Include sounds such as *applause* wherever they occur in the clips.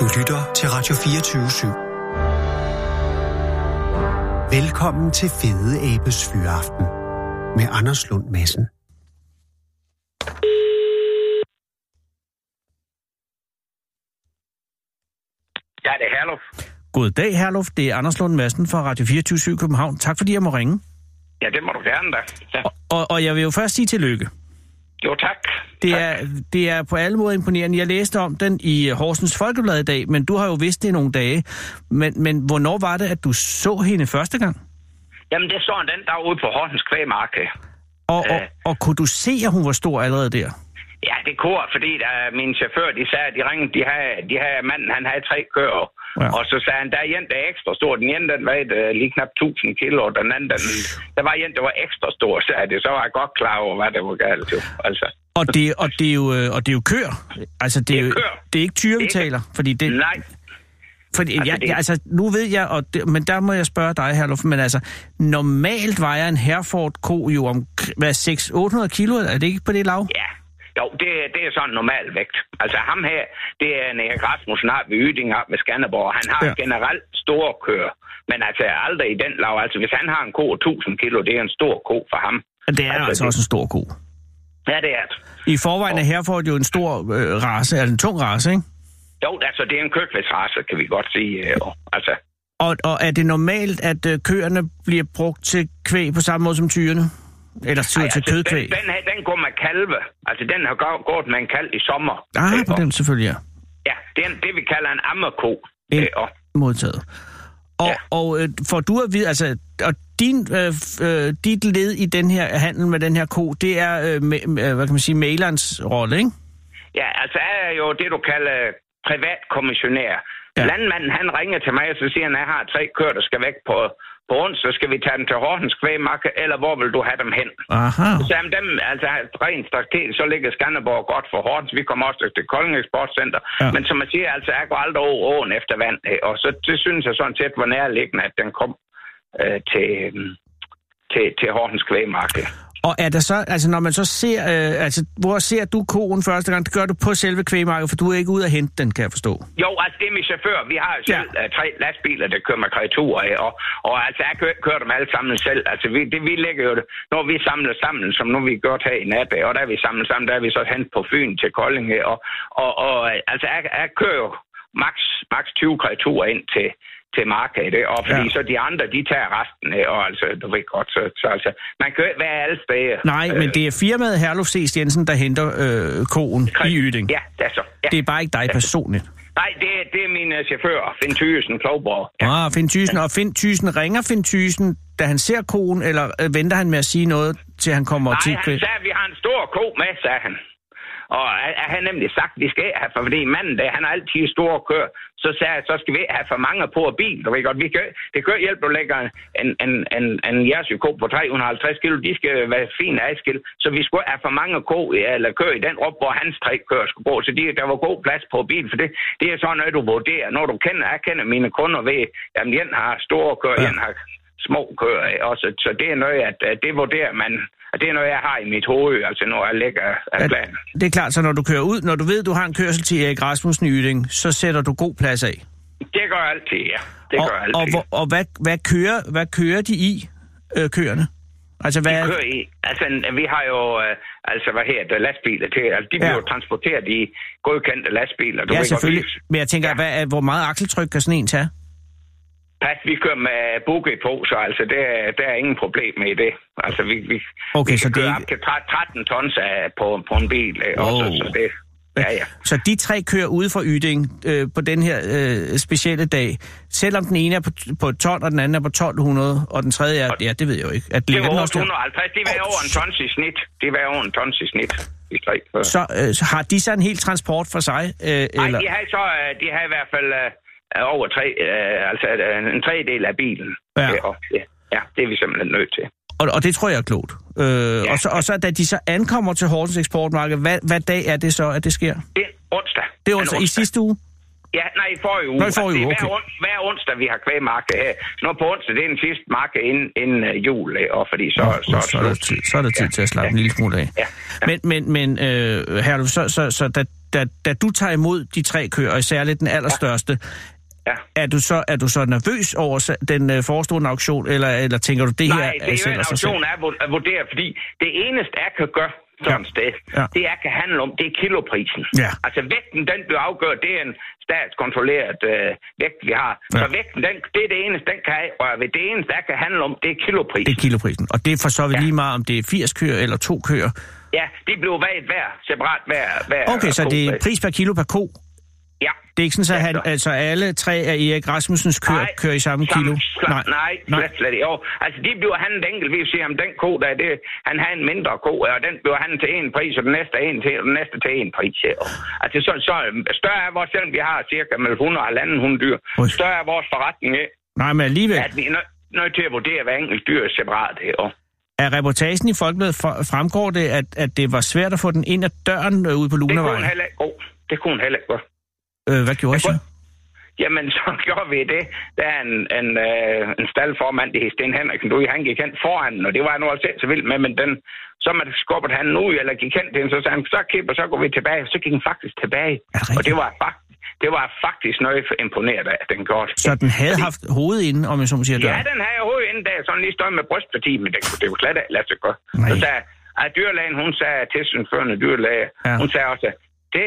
Du lytter til Radio 24 /7. Velkommen til Fede Abes Fyraften med Anders Lund Madsen. Ja, det er Herluf. Goddag, Herluf. Det er Anders Lund Madsen fra Radio 24 København. Tak fordi jeg må ringe. Ja, det må du gerne da. Ja. Og, og, og jeg vil jo først sige tillykke. Jo, tak. Det tak. er, det er på alle måder imponerende. Jeg læste om den i øh, Horsens Folkeblad i dag, men du har jo vidst det i nogle dage. Men, men hvornår var det, at du så hende første gang? Jamen, det så han den der ude på Horsens Kvægmarked. Og, og, og kunne du se, at hun var stor allerede der? Ja, det kunne jeg, fordi der, min chauffør, de sagde, at de ringede, de havde, de havde manden, han havde tre køer. Ja. Og så sagde han, der er en, der er ekstra stor. Den ene, den vejede uh, lige knap 1000 kilo, og den anden, den, der var en, der var ekstra stor, sagde det. Så var jeg godt klar over, hvad det var galt, jo. Altså. Og det, og det er jo, øh, og det er jo køer. Altså, det er, Det jo, er køer. det er ikke tyre, vi Det er- taler. Fordi det, Nej, Fordi, altså, Altså, jeg, det- jeg, altså, nu ved jeg, og det, men der må jeg spørge dig, Herluf, men altså, normalt vejer en Herford-ko jo om k- hvad, 600-800 kilo, er det ikke på det lav? ja. Jo, det, er- det er sådan normal vægt. Altså ham her, det er en Erik Rasmussen har ved Yding op med Skanderborg. Han har Ja. ja. generelt store køer, men altså aldrig i den lav. Altså hvis han har en ko af 1000 kilo, det er en stor ko for ham. Og det er altså, Altså, altså det- også en stor ko. Ja, det er det. I forvejen er Herford jo en stor øh, race, altså en tung race, ikke? Jo, altså det er en køkvæsrace, kan vi godt sige. øh, og- Altså, Og, og er det normalt, at øh, køerne bliver brugt til kvæg på samme måde som tyrene? Eller til, ej, til altså, den, kødkvæg? den, her, den går med kalve. Altså den har gå- gået med en kalv i sommer. Ah, Øh, på og- den selvfølgelig, ja. Ja, det er en, det vi kalder en ammerko. En- Øh, og- Modtaget. Og, Ja. og øh, får du at vide, altså, og din, øh, f- øh, dit led i den her handel med den her ko, det er, øh, me, øh, hvad kan man sige, malerens rolle, ikke? Ja, altså jeg er jo det, du kalder privatkommissionær. Ja. Ja. Landmanden, han ringer til mig, og så siger han, at jeg har tre køer, der skal væk på, på onsdag. Skal vi tage dem til Horsens Kvægmarked, eller hvor vil du have dem hen? Aha. Så jamen, dem, altså rent strategisk, så ligger Skanderborg godt for Horsens. Vi kommer også til Kolding Eksportcenter. Ja. Ja. Men som man siger, altså, jeg går aldrig over åen efter vand. øh, Og så det synes jeg sådan set, hvor nærliggende, at den kom øh, til, øhm, til, til Horsens Kvægmarked. Og er der så, altså når man så ser, øh, altså hvor ser du koen første gang, det gør du på selve kvægmarkedet, for du er ikke ude at hente den, kan jeg forstå. Jo, altså det er min chauffør. Vi har jo Ja. selv ja. tre lastbiler, der kører med kreaturer af, og, og altså jeg kører, kører dem alle sammen selv. Altså vi, det, vi lægger jo det, når vi samler sammen, som nu vi gjort her i nat, af, og der er vi samlet sammen, der er vi så hen på Fyn til Kolding, af, og, og, og øh, altså jeg, jeg kører jo max, max 20 kreaturer ind til, til markedet, af, og fordi Ja. ja. så de andre, de tager resten, af, og altså, du ved godt, så, så altså, man kan jo ikke være alle steder. Nej, men Øh, det er firmaet Herluf C. Jensen, der henter øh, koen i Yding. Ja, det er så. Ja. Det er bare ikke dig personligt. Nej, det, er- det er min øh, chauffør, Finn Thyesen Klogborg. Ja. Ah, Finn Thyssen. Og Finn Thyssen, ringer Finn Thyssen, da han ser konen, eller øh, venter han med at sige noget, til han kommer til... Nej, han sagde, at vi har en stor ko med, sagde han. Og han- han havde nemlig sagt, at vi skal ikke have, for fordi manden, der, han har altid store køer, så sagde jeg, så skal vi ikke have for mange på og bil. Du ved godt, vi kan, det kan jo ikke hjælpe, at du lægger en, en, en, en jersey ko på 350 kilo. De skal være fint adskilt, så vi skulle ikke have for mange ko, eller køer i den rup, hvor hans tre køer skulle gå. Så de, der var god plads på bil, for det, det er sådan noget, du vurderer. Når du kender, jeg kender mine kunder ved, at en har store køer, ja. Ja. en har små køer. ikke? Og så, så det er noget, at, at det vurderer man, og det er noget, jeg har i mit hoved, altså når jeg lægger af planen. det er klart, så når du kører ud, når du ved, du har en kørsel til Erik Rasmussen i Yding, så sætter du god plads af. Det gør jeg altid, ja. Det og, gør jeg og, altid. hvor- og hvad, hvad, kører, hvad kører de i, øh, køerne? Altså, hvad, kører i. Altså, en- vi har jo, øh, altså, hvad her, der lastbiler til, altså, de Ja. bliver jo transporteret i godkendte lastbiler. Du ja, ved godt, selvfølgelig. vi- Men jeg tænker, hvad, er- hvor meget akseltryk kan sådan en tage? Pas, vi kører med boogie på, så altså, der, der er ingen problem med det. Altså, vi, vi, Okay, vi så kan det køre er op til tre- 13 tons af, på, på en bil, oh. også, Wow. så det, ja, ja. Så de tre kører ude fra Yding øh, på den her øh, specielle dag, selvom den ene er på, på 12, og den anden er på 1200, og den tredje er, ja, det ved jeg jo ikke. At Det var ligger den også der? 850, det var Åh, over en tons i snit. Det var over en tons i snit. I tre. så, øh, så har de så en hel transport for sig? Øh, Nej, eller? de havde så, øh, de havde i hvert fald øh, over tre, øh, altså øh, en tredjedel af bilen. Ja. og, ja, ja, det er vi simpelthen nødt til. Og, og det tror jeg er klogt. Øh, ja. og, så, og så da de så ankommer til Horsens eksportmarked, hvad, hvad dag er det så, at det sker? Det er onsdag. Det er En altså i sidste uge? Ja, nej, i forrige uge. Altså, Nå, i forrige det er uge, hver, okay. on, hver onsdag, vi har kvægmarked her. Nå, på onsdag, det er den sidste marked inden, inden øh, jul, øh, og fordi så... Nå, så, er der tid, så er der tid ja. til at slappe ja. en lille smule af. Ja. Men, men, men øh, Herluf, så, så, så da da, da du tager imod de tre køer, og særligt den allerstørste, Ja. er du så, er du så nervøs over sa- den øh, forestående auktion, eller, eller tænker du, det her Nej, det er jo sælger en sig selv? auktion er at vur- at vurdere, fordi det eneste, jeg kan gøre sådan Ja. ja. sted, Ja. ja. det jeg kan handle om, det er kiloprisen. Ja. Altså vægten, den bliver afgjort, det er en statskontrolleret øh, vægt, vi har. Ja. Ja. Så vægten, den, det er det eneste, den kan jeg røre ved. Det eneste, jeg kan handle om, det er kiloprisen. Det er kiloprisen. Og det er for så vidt Ja. lige meget, om det er 80 køer eller to køer. Ja, det bliver vejet hver, separat hver. hver Okay, så ko. det er pris per kilo per ko. Ja. Det er ikke sådan, at han, Ja, så- altså alle tre af Erik Rasmussens køer Nej, kører i samme kilo? sla- nej, nej, nej. slet, slet ikke. Jo, altså, de bliver han enkeltvis siger, om den ko, der er det, han har en mindre ko, og den bliver han til en pris, og den næste, en til, og den næste til en pris. Ja. Altså, så, så større er vores, selvom vi har cirka mellem 100 og 100 dyr, Ui. større er vores forretning, ikke? nej, men alligevel. at vi er nø- nødt til at vurdere hver enkelt dyr separat. Ja. Af reportagen i Folkebladet for- fremgår det, at, at det var svært at få den ind ad døren øh, ude på Det kunne hun Lunavejen. heller ikke gå. Det kunne hun heller ikke gå. Øh, hvad gjorde I så? Jamen, *laughs* så gjorde vi det. Der er en, en, øh, en staldformand, det er Sten Henriksen, du, han gik hen foran, og det var han nu altså ikke så vild med, men den, så man skubbet han nu, eller gik hen til hende, så sagde han, så kip, og så går vi tilbage. Så gik han faktisk tilbage, Er og det det rigtigt? var faktisk, det var jeg faktisk noget for imponeret af, at den gjorde. det. Så den havde haft hovedet inde, om jeg så må sige, af Ja, døren? den havde jeg hovedet inden dag, sådan lige stået med brystparti, men det kunne det kunne slet ikke lade sig gøre. Nej. Så sagde at dyrlægen, hun sagde, tilsynsførende dyrlæge, Ja. ja. hun sagde også, det,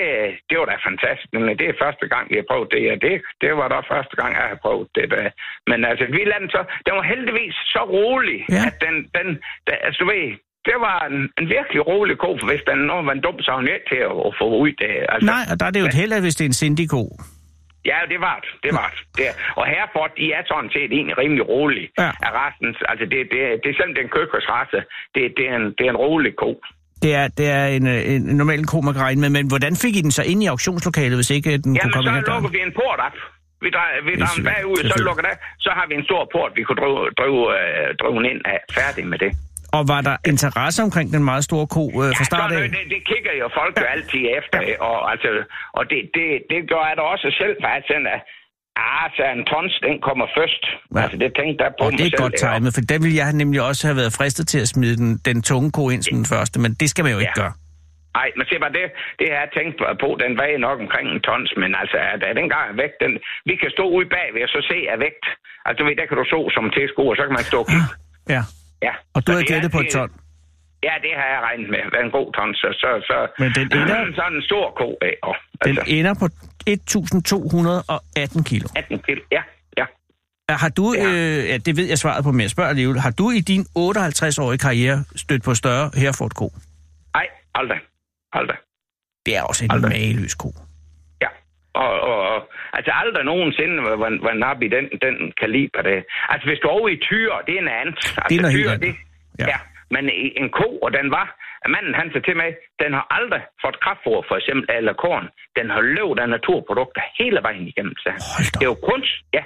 det var da fantastisk, men det er første gang, vi har prøvet det, og det, det var da første gang, jeg har prøvet det. Der. Men altså, vi lader den så, den var heldigvis så rolig, Ja. ja. at den, den, den, altså du ved, det var en, en virkelig rolig ko, for hvis den nu var en dum, så var hun ikke til at, at få ud det. Altså, Nej, og der er det jo et held, at hvis det er en sindig ko. Ja, det var det. Det var det. det. er- Og Herford, de er sådan set egentlig rimelig rolig Ja. ja. af resten. Altså, det, det, det er selvom det er en køkkersrasse, det, det, er en, det er en rolig ko. Det er, det er en, øh, en, en normal ko, man kan regne med. Men hvordan fik I den så ind i auktionslokalet, hvis ikke øh, den kunne Jamen, komme så ind ad døren? lukker vi en port op. Vi drejer, vi drejer den selvfølgelig- bagud, så selvfølgelig. lukker det. Så har vi en stor port, vi kunne drive, drive, øh, drive den ind af. Færdig med det. Og var der interesse omkring den meget store ko øh, fra start sådan af? noget, det, det kigger jo folk jo altid efter, og, altså, og det, det, det gør jeg da også selv, for jeg tænker, ah, så en tons, den kommer først. Ja. Ja. Altså, det tænkte jeg på Og det mig er selv, godt ja. timet, for der ville jeg nemlig også have været fristet til at smide den, den tunge ko ind som den første, men det skal man jo ikke Ja. gøre. Nej, men se bare, det, det har jeg tænkt på, den vejer nok omkring en tons, men altså, at, at den gang er vægt, den, vi kan stå ude bagved og så se er vægt. Altså, du ved, der kan du så som tilskuer, og så kan man stå og kigge. Ja. Ja. Ah. Og Så du havde det er- gættet på et det- ton. Ja, det har jeg regnet med. Hvad en god ton, så... så, så Men den ender- Sådan en stor ko af, og, Den altså, ender på 1.218 kilo. 18 kilo. Ja, ja. Har du, Ja. øh, ja, det ved jeg svaret på, men jeg spørger alligevel, har du i din 58-årige karriere stødt på større herford ko? Nej, aldrig. Aldrig. Det er også en Aldrig. mageløs ko. Ja. Og, og, og altså aldrig nogensinde var, var, var nap i den, den kaliber. Det. Altså hvis du er over i tyre, det er en anden. Altså, Det er noget helt tyre, andet. Ja. Ja. ja. Men i- en ko, og den var, at manden han sagde til mig, den har aldrig fået kraftfor, for eksempel, eller korn. Den har løbet af naturprodukter hele vejen igennem, sagde han. Hold da Det er jo kunst, ja.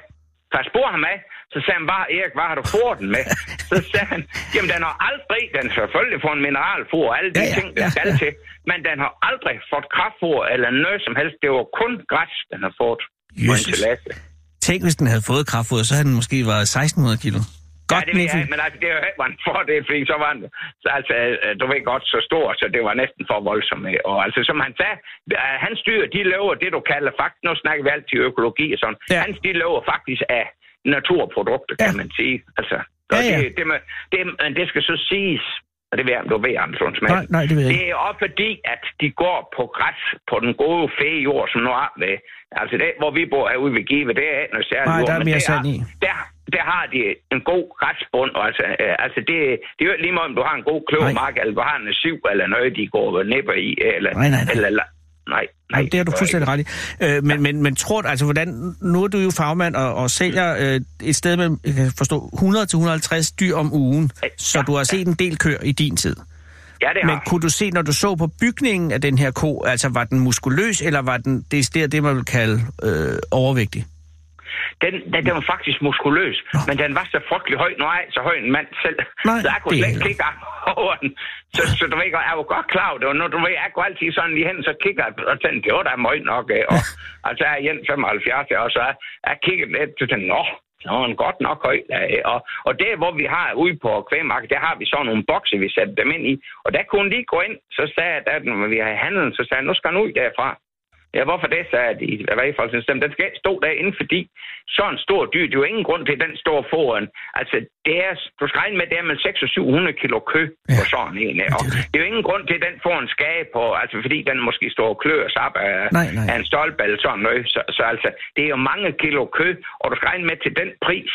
Så jeg spurgte ham af, så sagde han bare, Erik, hvad har du fået den med? *laughs* så sagde han, jamen den har aldrig, den har selvfølgelig fået en mineralfor og alle de Ja, ja, ja, ja, ting, den ja, ja, skal ja. ja. til. Men den har aldrig fået kraftfor eller noget som helst. Det var kun græs, den har fået. på en Jesus. enchilada. Tænk, hvis den havde fået kraftfod, så havde den måske været 1.600 kilo. Ja, Godt, det ja, ved jeg, ikke, men altså, det var en fordel, fordi så var den, så altså, øh, du ved godt, så stor, så det var næsten for voldsomt. ikke? Og altså, som han sagde, øh, hans dyr, de lever det, du kalder faktisk, nu snakker vi altid økologi og sådan, Ja. ja. hans, de lever faktisk af naturprodukter, Ja. kan man sige. Altså, Ja, og ja. Det, det, med, det, men det skal så siges, og det ved jeg, om du ved, Anders Lund Madsen. Nej, nej, det ved jeg ikke. Det er også fordi, at de går på græs på den gode fæjord, som nu er med. Altså, det, hvor vi bor herude ved Give, det er ikke noget særligt Nej, jord, der er men mere det sand i. der, der har de en god græsbund. og Altså, øh, altså det, det er jo ikke lige meget, om du har en god kløvermark, eller du har en syv, eller noget, de går og nipper i. Eller, Nej, nej, nej. Eller, la- nej, nej, Nej, det har du gør fuldstændig ret i. Øh, men, men, men tror du, altså hvordan, nu er du jo fagmand og, og sælger øh, et sted mellem, jeg kan forstå, 100-150 dyr om ugen, Ja, så du har set en del køer i din tid. ikke. Ja, det Men har. kunne du se, når du så på bygningen af den her ko, altså var den muskuløs, eller var den det, der, det man vil kalde øh, Altså, overvægtig? Den, den, den var faktisk muskuløs, men den var så frygtelig høj. Nu er jeg ikke så høj en mand selv, Nej, så jeg kunne det er slet ikke heller. kigge op over den. Så, så du ved, godt, jeg var godt klar over det, og nu, du ved, jeg går altid sådan lige hen, så kigger jeg, og tænker, det var da møg nok. øh, Og, og så er jeg igen 75, og så er jeg kigget lidt, så tænker, nå, nå, den er godt nok høj. da, øh, Og, og det, hvor vi har ude på kvægmarkedet, der har vi sådan nogle bokse, vi satte dem ind i. Og der kunne hun lige gå ind, så sagde jeg, da den- vi havde handlen, så sagde jeg, nu skal han ud derfra. Ja, hvorfor det, så er de vejfolksystemet. Den skal ikke stå derinde, fordi sådan stor dyr, det er jo ingen grund til, at den står foran. Altså, det er, du skal regne med, det er med 600-700 kilo kø på Ja. sådan en. Og det er jo ingen grund til, at den får en skade på, altså fordi den måske står og klør sig op af, Nej, nej. af en stolpe eller sådan noget. Så, så altså, det er jo mange kilo kø, og du skal regne med til den pris,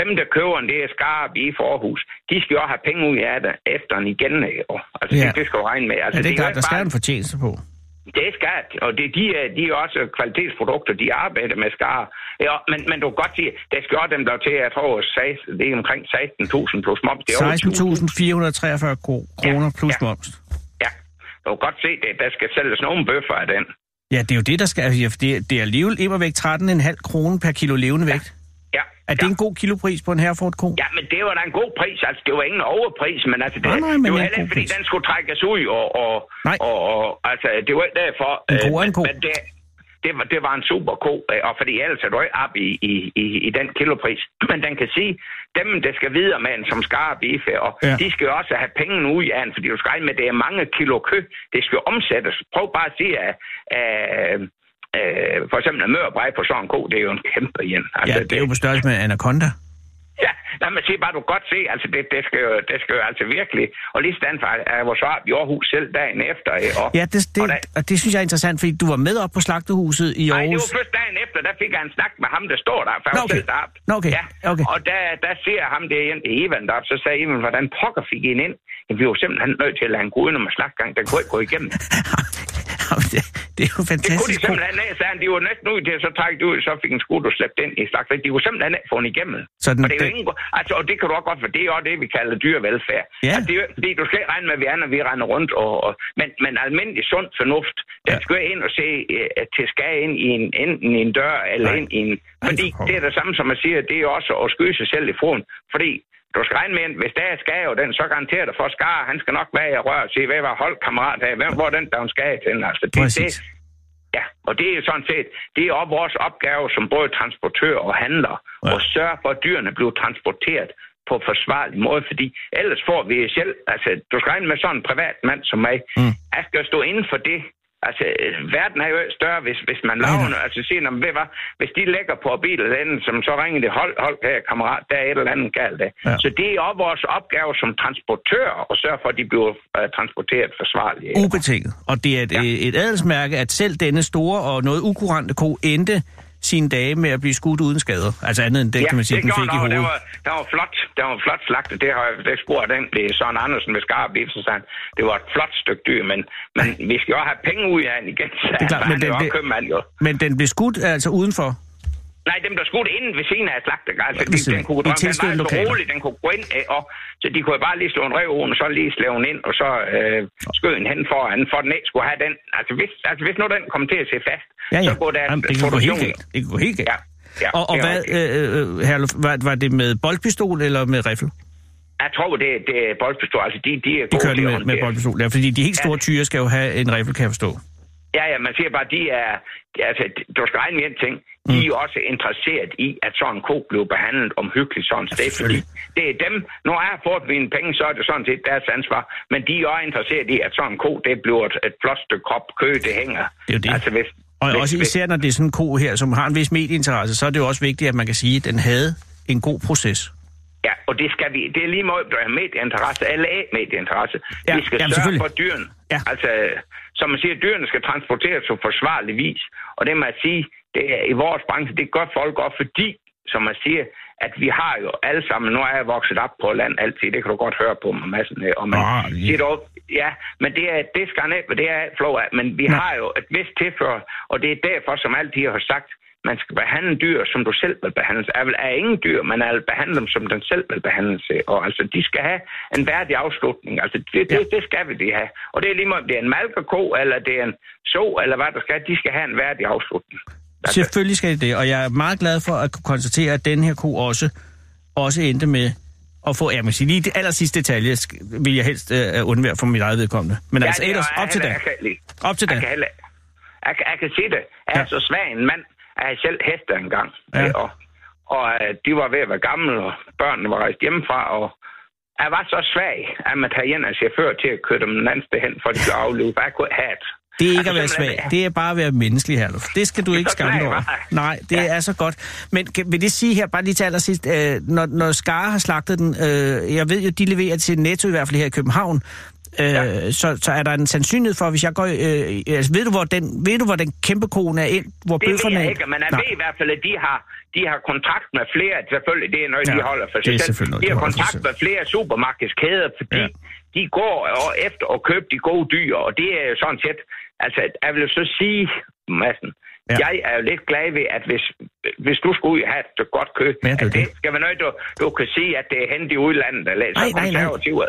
dem, der køber en det skarp i forhus, de skal jo også have penge ud af det efter en igen. Jo. Altså, Ja. ja. det, det, skal du regne med. Altså, Ja, det er jo klart, ikke der skal bare- en fortjeneste på. det er skat, og det, de, er, de er også kvalitetsprodukter, de arbejder med skar. Ja, men, men du kan godt sige, der skal også dem der til, jeg tror, seks- det er omkring 16.000 plus moms. Det er over 16.443 ko- kroner Ja, plus ja. moms. 20. Ja, du kan godt se, det, der skal sælges nogle bøffer af den. Ja, det er jo det, der skal... altså, Det er, det er alligevel immer væk 13,5 kroner per kilo levende vægt. Ja, Er det ja. en god kilopris på en herford ko? Ja, men det var da en god pris. Altså, det var ingen overpris, men altså, det, Nej, nej, men det var en heller ikke, god fordi pris. den skulle trækkes ud, og, og, Nej. og, og altså, det var ikke derfor. En ko er en men, ko. men det, det, var, det var en super ko, øh, og fordi ellers er du ikke op i, i, i, i den kilopris. Men den kan sige, dem, der skal videre med en, som skarp bife, og Ja. ja. de skal jo også have pengene ud af den, fordi du skal regne med, at det er mange kilo kø, det skal jo omsættes. Prøv bare at sige, at, at, at for eksempel en mørbrej på sådan en ko, det er jo en kæmpe Altså, igen. Ja, det er jo på størrelse med anaconda. Ja, nej, man siger bare, du kan godt se, altså det, det, skal, jo, det skal jo altså virkelig. Og lige stand for, øh, at jeg var så op i Aarhus selv dagen efter. ikke? Og, Ja, det, Og det, der, og det synes jeg er interessant, fordi du var med op på slagtehuset nej, i det Aarhus. var først dagen efter, der fik jeg en snak med ham, der står der, for jeg Nå, var okay. selv deroppe. Nå, okay. Ja. Okay. Og der, der ser ham det hjem til Ivan deroppe, så sagde Ivan, hvordan pokker fik I en ind? Jamen, vi var simpelthen nødt til at lade en gå udenom og slaggang, den kunne ikke gå *laughs* igennem. *laughs* Jamen, det, det er Det jo kunne de fantastisk. ko. simpelthen ikke, sagde han. De var næsten ud til, at så trække det ud, så fik en skud og slæbt ind i slagteri. De kunne simpelthen ikke få den igennem. Så den, Og det er jo den, ingen, gru- altså, og det kan du også godt, for det er også det, vi kalder dyrevelfærd. Ja. Altså, det er jo, fordi du skal ikke regne med, at vi er, når vi render rundt, og, og, men, men almindelig sund fornuft, den Ja. ja. skal jo ind og se øh, til skade ind i en, enten i en dør eller Nej. ind i en... Fordi for pokker. det er det samme, som man siger, det er også at skyde sig selv i foden, fordi du skal regne med, at hvis der er skade, og den så garanterer dig for skade, han skal nok være i rør og sige, hvad var holdkammerat af, hvem var den, der var en skade til? Altså, det, det, præcis. Ja, og det er jo sådan set, det er op vores opgave som både transportør og handler, Ja. ja. at sørge for, at dyrene bliver transporteret på forsvarlig måde, fordi ellers får vi selv, altså du skal regne med sådan en privat mand som mig, Mm. mm. jeg skal jo stå inden for det. Altså, øh, verden er jo ikke større, hvis, hvis man laver noget. Altså, siger, "Nå, men ved du hvad, hvis de lægger på bilen, anden, som så ringer det, hold, hold her, kammerat, der er et eller andet galt. Ja. Ja. Så det er op vores opgave som transportør at sørge for, at de bliver uh, transporteret forsvarligt. Ubetinget. Og det er et, ja. Ja. et adelsmærke, at selv denne store og noget ukurante ko endte sine dage med at blive skudt uden skader. Altså andet end det, kan man sige, det den gjorde fik i han, og hovedet. Det var, det var flot. Det var en flot slagtet. Det har jeg det spurgt den til Søren Andersen med skarp så sagde han, det var et flot stykke dyr, men, men vi skal jo også have penge ud af den igen, så Det er klart, han, men men det, det- er jo det- også købmand jo. Men den blev skudt altså udenfor. Nej, dem der skudte inden ved siden af slagtet, altså, Ja, ved de, siden. den kunne I drømme, den var tilstødende altså lokaler. rolig, den kunne gå ind, øh, og, så de kunne jo bare lige slå en rev over den, og så lige slå den ind, og så øh, skød den hen foran, for den ikke skulle have den. Altså hvis, altså, hvis nu den kom til at se fast, Ja, ja. så går der Jamen, det kan gå helt galt. Det kan gå helt galt. Ja, ja, og og det er hvad, rigtigt. øh, øh, Herluf, var, var det med boldpistol eller med riffel? Jeg tror, det, det er boldpistol. Altså, de, de er De gode kørte til at med, med håndtere. boldpistol, ja, fordi de helt store Ja. tyre skal jo have en riffel, kan jeg forstå. Ja, ja, man siger bare, de er, de- altså, du skal regne med en ting, de er jo Mm. også interesseret i, at sådan en ko bliver behandlet omhyggeligt sådan et sted, fordi det er dem, når jeg har fået mine penge, så er det sådan set deres ansvar, men de er også interesseret i, at sådan en ko, det bliver et, et flot stykke krop, kø, det hænger. Det er jo det. Altså, hvis, Og hvis, også især, når det er sådan en ko her, som har en vis medieinteresse, så er det jo også vigtigt, at man kan sige, at den havde en god proces. Ja, og det skal vi, det er lige meget, om du har medieinteresse eller af medieinteresse. Ja, Ja, vi skal jamen, sørge selvfølgelig. for dyrene. Ja. Altså, som man siger, dyrene skal transporteres på forsvarlig vis. Og det må jeg sige, det er, i vores branche, det gør folk også, fordi, som man siger, at vi har jo alle sammen, nu er jeg vokset op på land altid, det kan du godt høre på mig, massen her. Og man, Nå, ja. siger dog, ja, men det, er, det skal han ikke, det er alt flov af, men vi Nej. har jo et vist tilfør, og det er derfor, som altid har sagt, man skal behandle dyr, som du selv vil behandles. Jeg vil er ingen dyr, man vil behandle dem, som den selv vil behandles. Og altså, de skal have en værdig afslutning. Altså, det, det, det skal vi de have. Og det er lige meget, om det er en malkerko, eller det er en så, eller hvad der skal. De skal have en værdig afslutning. Altså, Selvfølgelig skal det det, og jeg er meget glad for at kunne konstatere, at den her ko også, også endte med at få, ja, man sige, lige det aller sidste detalje sk- vil jeg helst øh, undvære for mit eget vedkommende. Men ja, altså det er- ellers, op til jeg- da. jeg kan lide. Op til da. Jeg kan, heller, jeg, kan- jeg kan se det. Jeg er Ja. så svag en mand. Jeg har selv hester engang. Ja. Ja. Og, og øh, de var ved at være gamle, og børnene var rejst hjemmefra, og jeg var så svag, at man tager hjem en chauffør til at køre dem en anden sted hen, for de blev aflevet. For jeg kunne ikke have det. Det er ikke at være svag. Det er bare at være menneskelig, Herluf. Det skal du ikke skamme dig over. Nej, det ja. er så godt. Men kan, vil det sige her, bare lige til allersidst, øh, når, når Skara har slagtet den, øh, jeg ved jo, de leverer til Netto i hvert fald her i København, øh, ja. så, så er der en sandsynlighed for, hvis jeg går... Øh, altså, ved, du, hvor den, ved du, hvor den kæmpe koen er ind? Hvor det ved bøfferne jeg er ikke, men jeg ved i hvert fald, at de har, de har kontakt med flere. Selvfølgelig, det er noget, Ja, de holder for det sig er selv. selvfølgelig noget, De de har holder for kontakt sig med flere supermarkedskæder, fordi Ja. de går og- efter at købe de gode dyr, og det er jo sådan set... Altså, jeg vil jo så sige, Madsen, Ja. ja. jeg er jo lidt glad ved, at hvis, hvis du skulle ud og have et stykke godt kød, Ja, det er at det det. skal være noget, du, du kan sige, at det er hent i udlandet, eller så Nej, nej, nej. konservativt,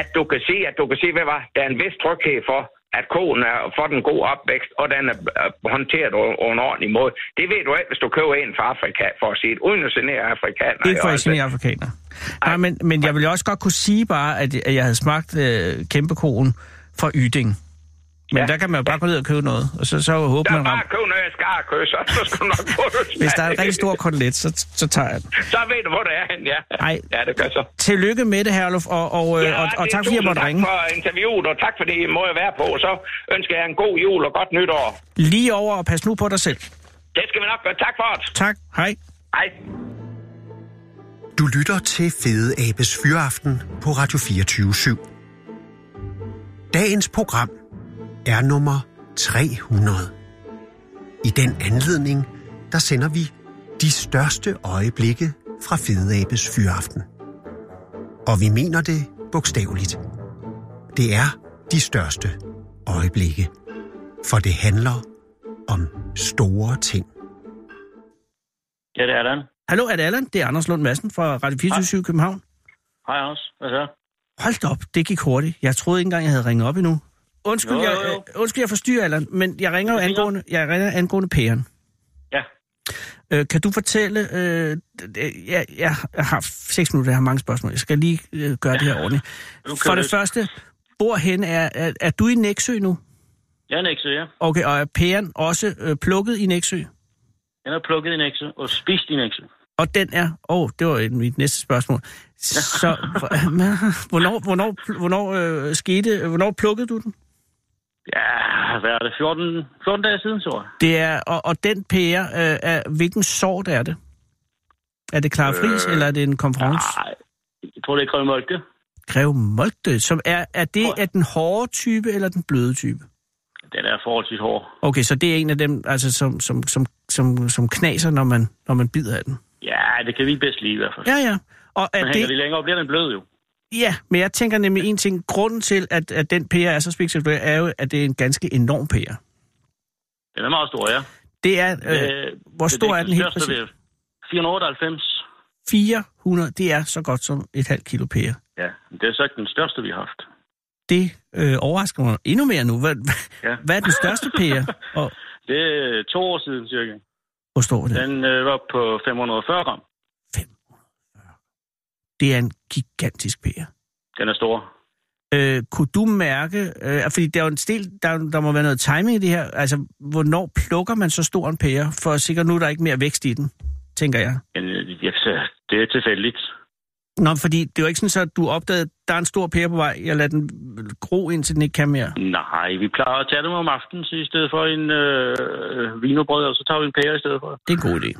at du kan se, at du kan se, hvad var, der er en vis tryghed for, at koen er, får den god opvækst, og den er øh, håndteret o- over en ordentlig måde. Det ved du ikke, hvis du køber en fra Afrika, for at sige det, uden at genere afrikaner. Ikke for at genere afrikanere. Nej, men, men jeg ville også godt kunne sige bare, at, at jeg havde smagt øh, kæmpekoen fra Yding. Men ja. Ja. der kan man jo bare gå ned og købe noget, og så, så håber Der man er bare ramt. at købe noget, jeg skal have kød, *laughs* så, så skal du nok få det. Hvis der er en rigtig stor kotelet, så, så tager jeg den. Så ved du, hvor det er hen, ja. Ej. Ja, det gør så. Tillykke med det, Herluf, og, og, ja, Ja, og, og det er tak fordi jeg tusind måtte ringe. Tak for interviewet, og tak for det, I må jeg være på. Og så ønsker jeg en god jul og godt nytår. Lige over og pas nu på dig selv. Det skal vi nok gøre. Tak for det. Tak, hej. Hej. Du lytter til Fede Abes Fyraften på Radio 24 /7. Dagens program er nummer 300. I den anledning, der sender vi de største øjeblikke fra Fede Abes Fyraften. Og vi mener det bogstaveligt. Det er de største øjeblikke. For det handler om store ting. Ja, det er den. Hallo, er det Allan? Det er Anders Lund Madsen fra Radio 24 København. Hej også. Hvad så? Hold da op, det gik hurtigt. Jeg troede ikke engang, jeg havde ringet op endnu. Undskyld, Jo, jeg, jo, jo. øh, undskyld, jeg forstyrrer, Allan, men jeg ringer jo Det er fint. angående, jeg ringer angående pæren. Ja. Øh, kan du fortælle... Øh, d- d- jeg, jeg har seks minutter, jeg har mange spørgsmål. Jeg skal lige øh, gøre det her ordentligt. Nu kører For det det. første, hvorhen er, er... Er du i Næksø nu? Jeg er Nexø, ja. Okay, og er pæren også øh, plukket i Næksø? Den er plukket i Nexø og spist i Nexø. Og den er... Åh, oh, det var et- mit næste spørgsmål. Så hvor- *laughs* hvornår, hvornår, hvornår øh, skete... Hvornår plukkede du den? Ja, hvad er det? 14, 14 dage siden, tror jeg. Det er... Og, og den pære, øh, er, hvilken sort er det? Er det Clara Friis, øh, eller er det en konference? Nej, jeg tror, det er Krøn Molke. Greve Moltke, som er, er det Tror jeg. er den hårde type eller den bløde type? Den er forholdsvis hård. Okay, så det er en af dem, altså, som, som, som, som, som knaser, når man, når man bider af den. Ja, det kan vi bedst lide i hvert fald. Ja, ja. Og Den at hænger det... det, lige længere op, bliver den blød jo. ja, men jeg tænker nemlig en ting. Grunden til, at, at den pære er så spektakulær, er jo, at det er en ganske enorm pære. Den er meget stor, ja. Det er, øh, Øh, hvor stor er den helt største, det er 498. 400, det er så godt som et halvt kilo pære. Ja, det er så ikke den største, vi har haft. Det øh, overrasker mig endnu mere nu. Hvad, *laughs* ja. Ja. hvad er den største *laughs* pære? Og, Det er øh, to år siden cirka. hvor står den? Den øh, var på 540 gram. Det er en gigantisk pære. Den er stor. Øh, kunne du mærke, øh, fordi der er jo en stil, der, der må være noget timing i det her, altså hvornår plukker man så stor en pære, for sikkert nu er der ikke mere vækst i den, tænker jeg. Men, øh, ja, så det er tilfældigt. Nå, fordi det er jo ikke sådan, så, at du opdagede, at der er en stor pære på vej, jeg lader den gro, indtil den ikke kan mere. Nej, vi plejer at tage dem om aftenen, så i stedet for en øh, vinerbrød, og så tager vi en pære i stedet for. Det er en god idé.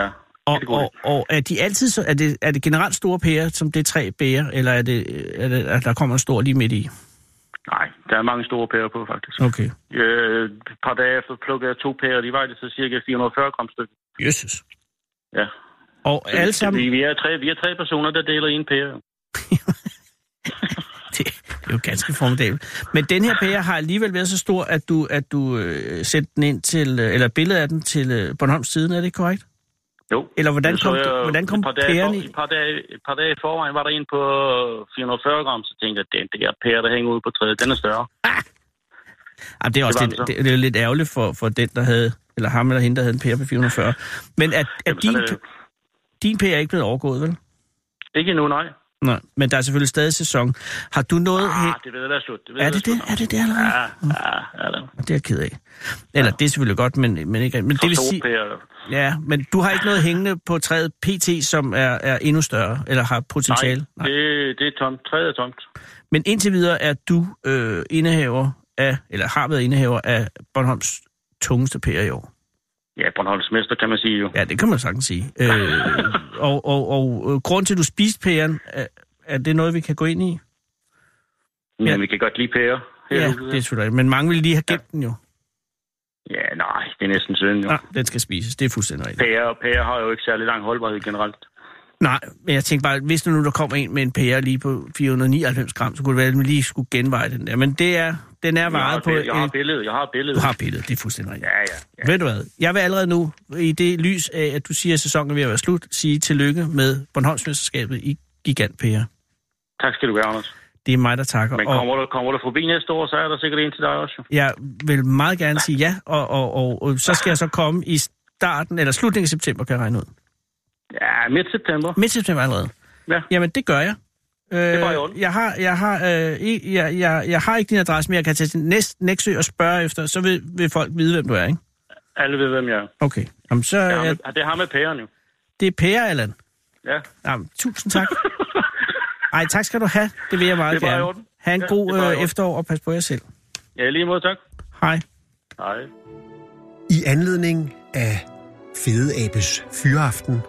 Ja, Og, det er en god og, og er, de altid så, er, det, er det generelt store pærer, som det er tre bære, eller er det, er det, at der kommer en stor lige midt i? nej, der er mange store pærer på, faktisk. Okay. Øh, et par dage efter plukkede jeg to pærer, de vejede så cirka 440 gram stykke. Jesus. Ja. Og alle sammen, Vi, vi, er tre, vi er tre personer, der deler en pære. det, *laughs* det er jo ganske formidabelt. Men den her pære har alligevel været så stor, at du, at du øh, sendte den ind til, øh, eller billedet af den til øh, Bornholms siden, er det korrekt? Jo. Eller hvordan Det så kom, jeg du, jo hvordan kom et par dage pæren for- i? Et par dage, et par dage i forvejen var der en på 440 gram, så tænkte jeg, den der pære, der hænger ude på træet, den er større. Jamen, det er også var det den så. lidt, det, det er lidt ærgerligt for, for den, der havde, eller ham eller hende, der havde en pære på 440. Men at, at Jamen, din, sådan er det. din pære er ikke blevet overgået, vel? Ikke endnu, nej. Nej, men der er selvfølgelig stadig sæson. Har du noget... Ah, det ved at være slut. Det ved er at være det det? slut nu. Er det det allerede? Ja, ja, ja. Det Det er jeg ked af. Eller det er selvfølgelig godt, men, men ikke... Men det vil sige, ja, men du har ikke noget hængende på træet PT, som er, er endnu større, eller har Nej, potentiale? det, det er tomt. Træet er tomt. Men indtil videre er du øh, indehaver af, eller har været indehaver af Bornholms tungeste pære i år. Ja, Bornholms mester, kan man sige jo. Ja, det kan man sagtens sige. Øh, *laughs* og, og, og, og grund til, at du spiste pæren, er, er det noget, vi kan gå ind i? Men ja. vi kan godt lide pære. her Ja, i det huset. er selvfølgelig. Men mange ville lige have gemt den jo. ja, nej, det er næsten synd jo. Nej, Ah, den skal spises. Det er fuldstændig rigtigt. Pære og pære har jo ikke særlig lang holdbarhed generelt. Nej, men jeg tænkte bare, hvis nu der kommer en med en pære lige på 499 gram, så kunne det være, at man lige skulle genveje den der. Men det er, den er jeg, har varet på... billede, jeg har et- billedet, jeg har billedet. du har billedet, det er fuldstændig rigtigt. Ja, ja. ja. Ved du hvad? Jeg vil allerede nu, i det lys af, at du siger, at sæsonen er ved at være slut, sige tillykke med Bornholmsmesterskabet i Gigant Pære. Tak skal du have, Anders. Det er mig, der takker. Men og kommer du, kommer du forbi næste år, så er der sikkert en til dig også. jo. jeg vil meget gerne sige ja, og, og, og, og så skal jeg så komme i starten, eller slutningen af september, kan jeg regne ud. Ja, midt september. Midt september allerede. Ja. Jamen, det gør jeg. Øh, er bare i orden. jeg har, jeg har, øh, i- jeg, jeg, jeg har ikke din adresse, men jeg kan tage til næst, Nexø og spørge efter, så vil, vil folk vide, hvem du er, ikke? Alle ved, hvem jeg er. Okay. Jamen, så Det har er med, det har med pæren jo. det er Per, Allan. Ja. Jamen, tusind *laughs* tak. Ej, tak skal du have. Det vil jeg meget Det er bare i gerne. orden. Ha' en Ja, det god er bare i øh, orden. efterår, og pas på jer selv. Ja, i lige måde, tak. Hej. Hej. I anledning af Fede Abes Fyraften,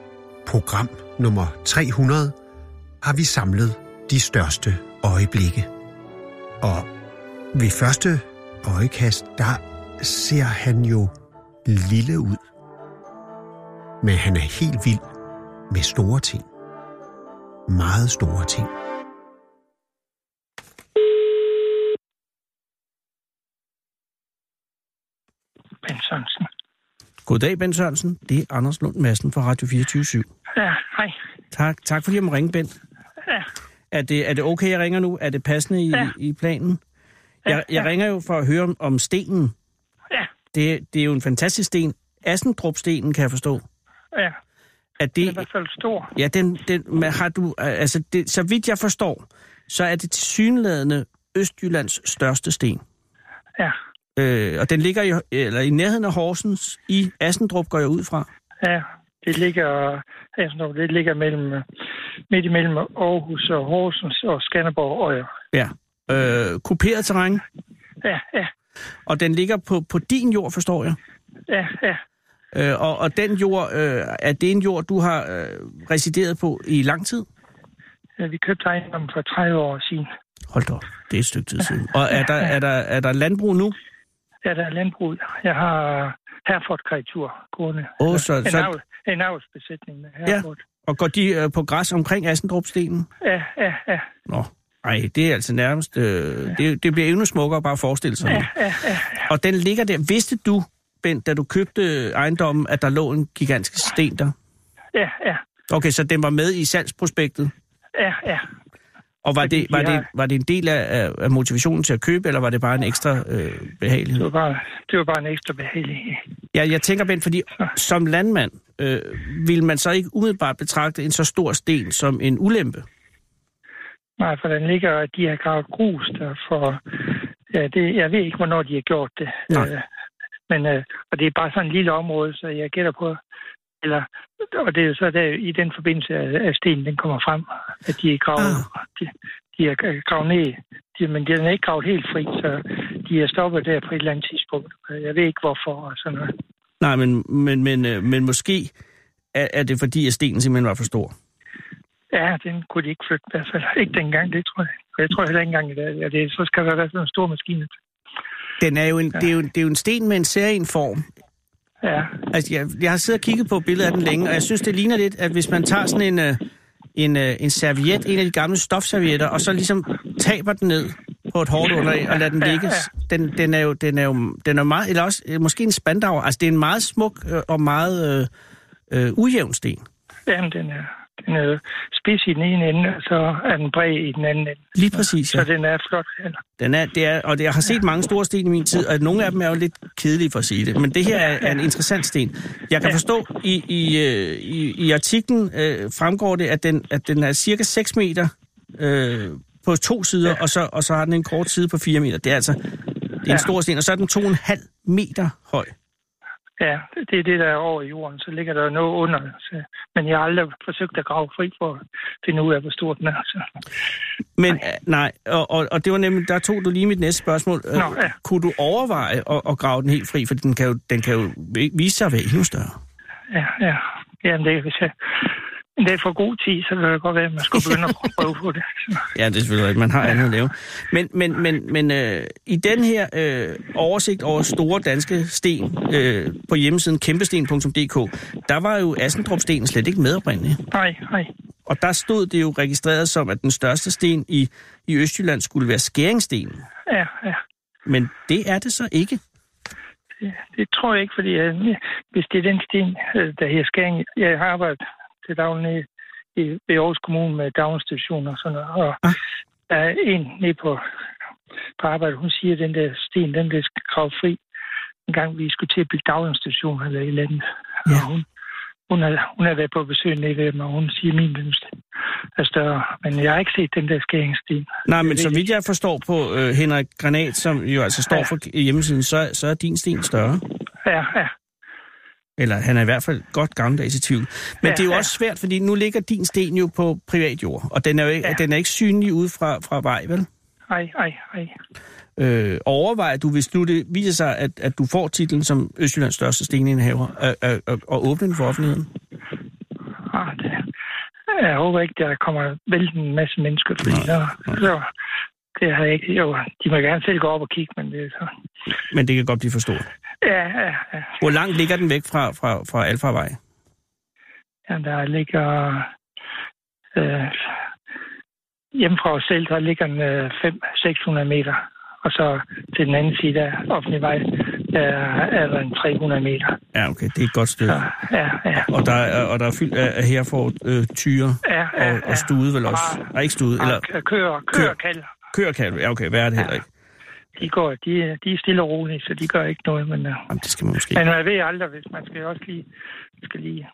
program nummer 300, har vi samlet de største øjeblikke. Og ved første øjekast, der ser han jo lille ud. Men han er helt vild med store ting. Meget store ting. Ben Sørensen. Goddag, Ben Sørensen. Det er Anders Lund Madsen fra Radio 24 /7. Ja, hej. Tak, tak fordi jeg må ringe, Bent. Ja. Er det, er det okay, jeg ringer nu? Er det passende i, Ja. i planen? Jeg, jeg ja. ringer jo for at høre om, om stenen. Ja, Det, det er jo en fantastisk sten. Assendrup-stenen, kan jeg forstå. ja. Er Det er i det, hvert fald stor. ja, den, den men har du, altså, det, så vidt jeg forstår, så er det tilsyneladende Østjyllands største sten. Ja, Øh, og den ligger i, eller i nærheden af Horsens i Assendrup, går jeg ud fra. ja. Det ligger, Hasenstrup, det ligger mellem, midt imellem Aarhus og Horsens og Skanderborg og Øjer. Ja. Øh, kuperet terræn. Ja, ja, Og den ligger på, på din jord, forstår jeg. ja, ja. Øh, og, og den jord, øh, er det en jord, du har øh, resideret på i lang tid? Ja, Vi købte ejendommen for 30 år siden. Hold da op, det er et stykke tid siden. Og er der, er der, er der landbrug nu? Ja, der er landbrug. Jeg har Herford-kreatur gående. Åh, så- en, så- avl, en avlsbesætning med Herford. Og går de øh, på græs omkring Assendrup-stenen? Ja, ja, ja. Nå, ej, det er altså nærmest... Øh, det, det bliver endnu smukkere bare at forestille sig. Ja, ja, ja. Og den ligger der. Vidste du, Bent, da du købte ejendommen, at der lå en gigantisk sten der? Ja, ja, Okay, så den var med i salgsprospektet? ja, ja. Og var Fordi det, var, de har- det, var det en del af, af- af motivationen til at købe, eller var det bare en ekstra øh, Det behagelighed? var bare, det var bare en ekstra behagelig. Ja, jeg tænker, Bent, fordi som landmand, øh, vil man så ikke umiddelbart betragte en så stor sten som en ulempe? Nej, for den ligger, at de har gravet grus der for... Ja, det, jeg ved ikke, hvornår de har gjort det. Nej. Øh, men, øh, og det er bare sådan et lille område, så jeg gætter på... Eller, og det er jo så der, i den forbindelse, at at stenen den kommer frem, at de er gravet, ah. de, de er øh, gravet ned. De, men den er ikke gravet helt fri, så de er stoppet der på et eller andet tidspunkt. Øh, Jeg ved ikke, hvorfor og sådan noget. Nej, men, men, men, øh, men måske er, er det fordi, at stenen simpelthen var for stor. Ja, den kunne de ikke flytte i hvert fald. Ikke dengang, det tror jeg. Og Jeg tror heller ikke engang i dag. Ja, det, så skal der være sådan en stor maskine. Den er jo en, ja. det, er jo, det er jo en sten med en særlig form. Ja, Altså, jeg, jeg har siddet og kigget på billedet af den længe, og jeg synes, det ligner lidt, at hvis man tager sådan en, øh, en, øh, en serviet, en af de gamle stofservietter, og så ligesom taber den ned på et hårdt underlag og lader den ligge. Den, den er jo, den er jo den er jo meget, eller også øh, måske en spandauer. Altså, det er en meget smuk øh, og meget øh, øh, ujævn sten. Jamen, den er, den er spids i den ene ende, og så er den bred i den anden ende. Lige præcis, Så ja. den er flot. Eller? Den er, det er, og det, jeg har set mange store sten i min tid, og nogle af dem er jo lidt kedelige for at sige det, men det her er, er en interessant sten. Jeg kan forstå, i, i, øh, i, i artiklen øh, fremgår det, at den, at den er cirka 6 meter øh, på to sider, og så, og så har den en kort side på 4 meter. Det er altså det er en stor sten, og så er den 2,5 meter høj. Ja, det er det, der er over i jorden. Så ligger der noget under. Så, men jeg har aldrig forsøgt at grave fri for at finde ud af, hvor stor den er. Så. Men nej, nej og, og, og det var nemlig, der tog du lige mit næste spørgsmål. Øh, Nå, ja. Kunne du overveje at, at grave den helt fri? For den kan jo, den kan jo vise sig at være endnu større. Ja, ja. Jamen, det, hvis jeg en dag får god tid, så kan det godt være, at man skulle begynde at prøve på det. Så. Ja, det er selvfølgelig rigtigt. Man har andet at lave. Men, men, men, men øh, i den her øh, oversigt over store danske sten øh, på hjemmesiden kæmpesten.dk, der var jo Assendrup-stenen slet ikke med oprindeligt. Nej, nej. Og der stod det jo registreret som, at den største sten i, i Østjylland skulle være skæringstenen. Ja, ja. Men det er det så ikke. Det, det tror jeg ikke, fordi jeg, hvis det er den sten, øh, der her skæring, jeg har arbejdet til daglig i, i Aarhus Kommune med daginstitutioner og sådan noget. Og ah. der er en nede på, på arbejde, hun siger, at den der sten, den blev gravet fri, en gang vi skulle til at bygge daginstitutioner eller et eller andet. Ja. Og hun, hun, har, hun har været på besøg nede ved mig, og hun siger, at min den er større. Men jeg har ikke set den der skæringssten. Nej, men så vidt jeg forstår på øh, Henrik Granat, som jo altså står ja. for hjemmesiden, så, så er din sten større. Ja, ja. Eller han er i hvert fald godt gammeldags i tvivl. Men ja, det er jo ja. også svært, fordi nu ligger din sten jo på privat jord, og den er jo ikke, ja. den er ikke synlig ude fra, fra vej, vel? Nej, nej, nej. Øh, overvejer du, hvis nu det viser sig, at, at du får titlen som Østjyllands største stenindhaver, at, at, at, at åbne den for offentligheden? Ah, det, jeg håber ikke, der kommer vældig en masse mennesker, fordi nej, der, nej. Så, det har jeg ikke. Jo, de må gerne selv gå op og kigge, men det er så... Men det kan godt blive for stort. Ja, ja, ja. Hvor langt ligger den væk fra, fra, fra Alfarvej? Ja, der ligger... Øh, hjemme fra os selv, der ligger den øh, 500-600 meter. Og så til den anden side af offentlig vej, der er der en 300 meter. Ja, okay. Det er et godt stykke. Ja, ja. ja. Og der, er, og der er fyldt af, af her for øh, tyre ja, ja, ja. og, og stude vel også. Nej, ikke stude. Eller... Kører, kører, kører, kører, ja okay, hvad er det heller ikke? de, går, de, de er stille og rolige, så de gør ikke noget. Men, øh, Jamen, det skal man måske men man ved aldrig, hvis man skal også lige, skal lige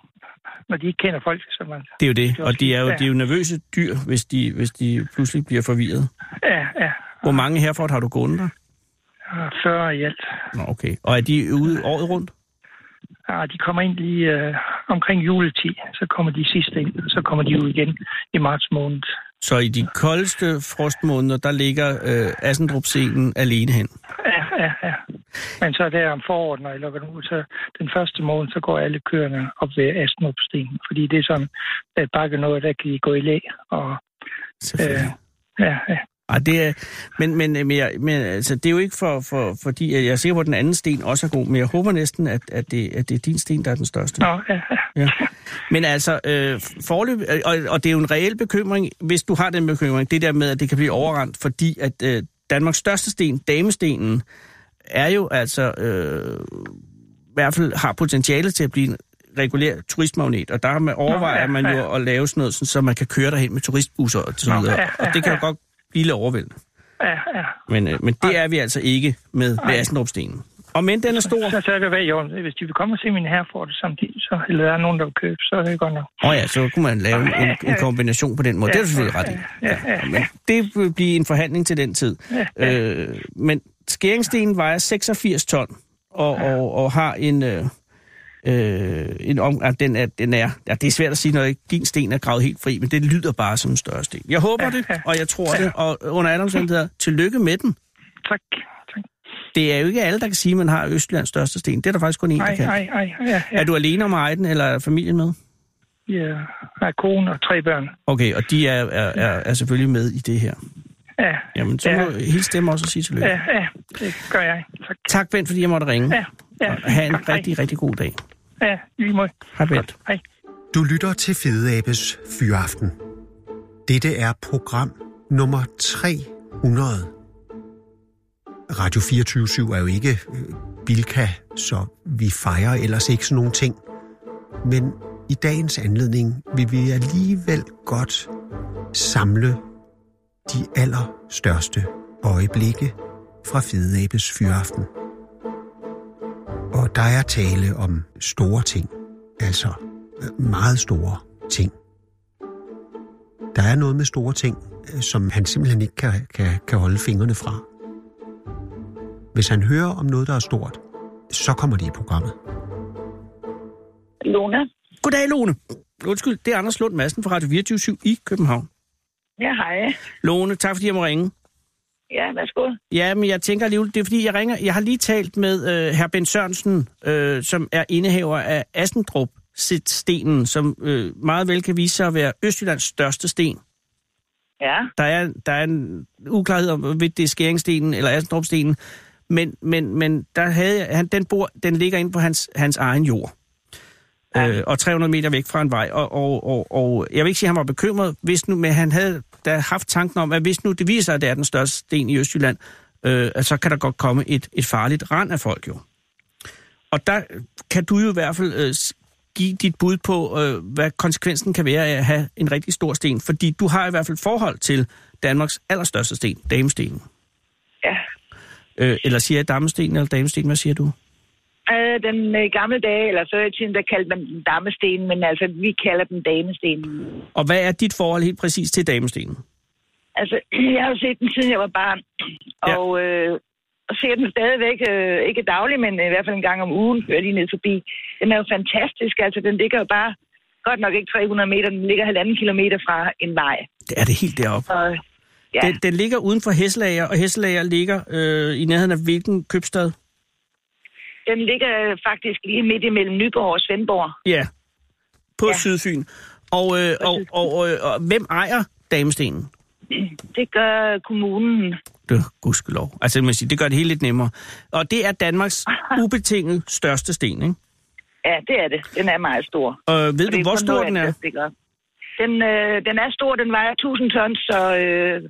når de ikke kender folk, så man... Det er jo det, og de er jo, ja. de er jo nervøse dyr, hvis de, hvis de pludselig bliver forvirret. Ja, ja. Hvor mange herfra har du gået der? 40 i alt. Nå, okay. Og er de ude året rundt? Ja, de kommer ind lige øh, omkring juletid, så kommer de sidste ind, så kommer de ud igen i marts måned. Så i de koldeste frostmåneder, der ligger øh, assendrup alene hen? Ja, ja, ja. Men så der om foråret, når jeg lukker den ud, så den første måned, så går alle køerne op ved assendrup fordi det er sådan, at bakke noget, der kan de gå i læ. Og, øh, ja, ja. Ej, det er, men, men, men, jeg, men altså, det er jo ikke for, for, fordi, jeg er sikker på, at den anden sten også er god, men jeg håber næsten, at, at, det, at det er din sten, der er den største. Nå, ja. ja. Men altså, øh, forløb, og, og det er jo en reel bekymring, hvis du har den bekymring, det der med, at det kan blive overrendt, fordi at øh, Danmarks største sten, damestenen, er jo altså, øh, i hvert fald har potentiale til at blive en regulær turistmagnet, og der med overvejer Nå, ja, man jo ja. at lave sådan noget, sådan, så man kan køre derhen med turistbusser og så videre. Ja, ja, og det kan jo godt blive lidt overvældende. Ja, ja. Men, øh, men det er vi altså ikke med, med Asendrup-stenen. Og men den er stor. Så, så er det værd, Jørgen. Hvis de vil komme og se min herre for det samtidig, så, eller der er nogen, der vil købe, så er det godt nok. Åh oh ja, så kunne man lave en, en kombination på den måde. Ja, det er du selvfølgelig ret i. Ja, ja, ja. Det vil blive en forhandling til den tid. Ja, Øh, men skæringstenen vejer 86 ton, og, og, og har en... Øh, Øh, en om, at den er, den er, ja, det er svært at sige, når din sten er gravet helt fri, men det lyder bare som en større sten. Jeg håber ja, det, ja. og jeg tror ja. det, og under alle omstændigheder, tillykke med den. Tak. tak. Det er jo ikke alle, der kan sige, at man har Østlands største sten. Det er der faktisk kun én, der kan. Ej, ej, ja, ja. Er du alene om at eje den, eller er familien med? Ja, jeg har kone og tre børn. Okay, og de er, er, er, er selvfølgelig med i det her. Ja. Jamen, så ja. må helt dem også og sige tillykke. Ja, ja, det gør jeg. Tak. Tak, Bent, fordi jeg måtte ringe. Ja, ja. Og have en tak, rigtig, hej. rigtig god dag. Ja, lige måde. Hej, Bent. Hej. Du lytter til Fede Abes Fyraften. Dette er program nummer 300. Radio 24 er jo ikke øh, Bilka, så vi fejrer ellers ikke sådan nogle ting. Men i dagens anledning vil vi alligevel godt samle de allerstørste øjeblikke fra Fede Abes Fyraften. Og der er tale om store ting, altså meget store ting. Der er noget med store ting, øh, som han simpelthen ikke kan, kan, kan holde fingrene fra. Hvis han hører om noget, der er stort, så kommer det i programmet. Luna. Goddag, Lone. Undskyld, det er Anders Lund Madsen fra Radio 24 i København. Ja, hej. Lone, tak fordi jeg må ringe. Ja, værsgo. Ja, men jeg tænker alligevel, det er fordi, jeg ringer. Jeg har lige talt med øh, hr. Ben Sørensen, øh, som er indehaver af Astendrup stenen, som øh, meget vel kan vise sig at være Østjyllands største sten. Ja, Der er, der er en uklarhed om, hvorvidt det er Skæringstenen eller Astendrup-stenen, men, men, men der havde jeg, han, den, bor, den ligger inde på hans, hans egen jord. Ja. Øh, og 300 meter væk fra en vej. Og, og, og, og jeg vil ikke sige, at han var bekymret, hvis nu, men han havde da haft tanken om, at hvis nu det viser sig, at det er den største sten i Østjylland, øh, at så kan der godt komme et, et farligt rand af folk jo. Og der kan du jo i hvert fald øh, s- give dit bud på, øh, hvad konsekvensen kan være af at have en rigtig stor sten, fordi du har i hvert fald forhold til Danmarks allerstørste sten, damestenen. ja. Øh, eller siger jeg dammestenen eller damestenen, hvad siger du? Øh, den øh, gamle dage, eller før i tiden, der kaldte man den dammestenen, men altså, vi kalder den damestenen. Og hvad er dit forhold helt præcis til damestenen? Altså, *clears throat* jeg har jo set den, siden jeg var barn, Ja. og, øh, og ser den stadigvæk, øh, ikke dagligt, men i hvert fald en gang om ugen, kører jeg lige ned forbi. Den er jo fantastisk, altså, den ligger jo bare, godt nok ikke 300 meter, den ligger halvanden kilometer fra en vej. Det er det helt deroppe. Og, ja, Ja. Den, den ligger uden for Hesselager, og Hesselager ligger øh, i nærheden af hvilken købstad? den ligger øh, faktisk lige midt imellem Nyborg og Svendborg. Ja, på ja. Ja. Sydfyn. Og, øh, og, og, og, øh, og hvem ejer damestenen? Det gør kommunen. Det gudskelov. Altså, man siger, det gør det hele lidt nemmere. Og det er *laughs* Danmarks ubetinget største sten, ikke? Ja, det er det. Den er meget stor. Og øh, ved Og det du, er hvor kun stor noget den er? andet, der stikker op. Den, øh, den er stor, den vejer 1000 tons, så, øh,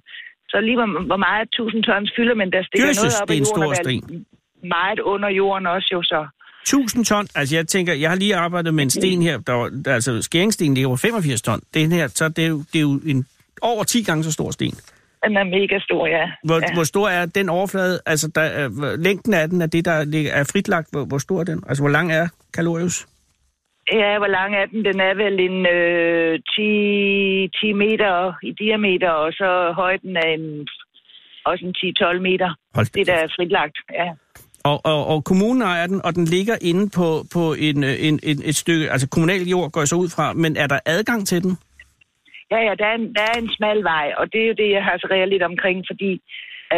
så lige hvor, hvor meget 1000 tons fylder, men der stikker Jesus, noget op det er i en jorden. stor og der er sten. Meget under jorden også jo, så. 1000 ton. Altså, jeg tænker, jeg har lige arbejdet med en sten her, der, var- der altså, skæringsstenen ligger på 85 ton. Den her, så det er jo, det er jo en over 10 gange så stor sten. Den er mega stor, ja. Hvor, ja. ja. hvor stor er den overflade? Altså, der er, hvor- længden af den er det, der ligger, er fritlagt. Hvor, hvor stor er den? Altså, hvor lang er Kalorius? ja, hvor lang er den? Den er vel en øh, 10, 10 meter i diameter, og så højden er en, også en 10-12 meter. Hold da det der kæft. er fritlagt, ja. Og, og, og kommunen ejer den, og den ligger inde på, på en, øh, en, en, et stykke... Altså, kommunal jord går jeg så ud fra, men er der adgang til den? Ja, ja, der er, en, der er en smal vej, og det er jo det, jeg har så lidt omkring, fordi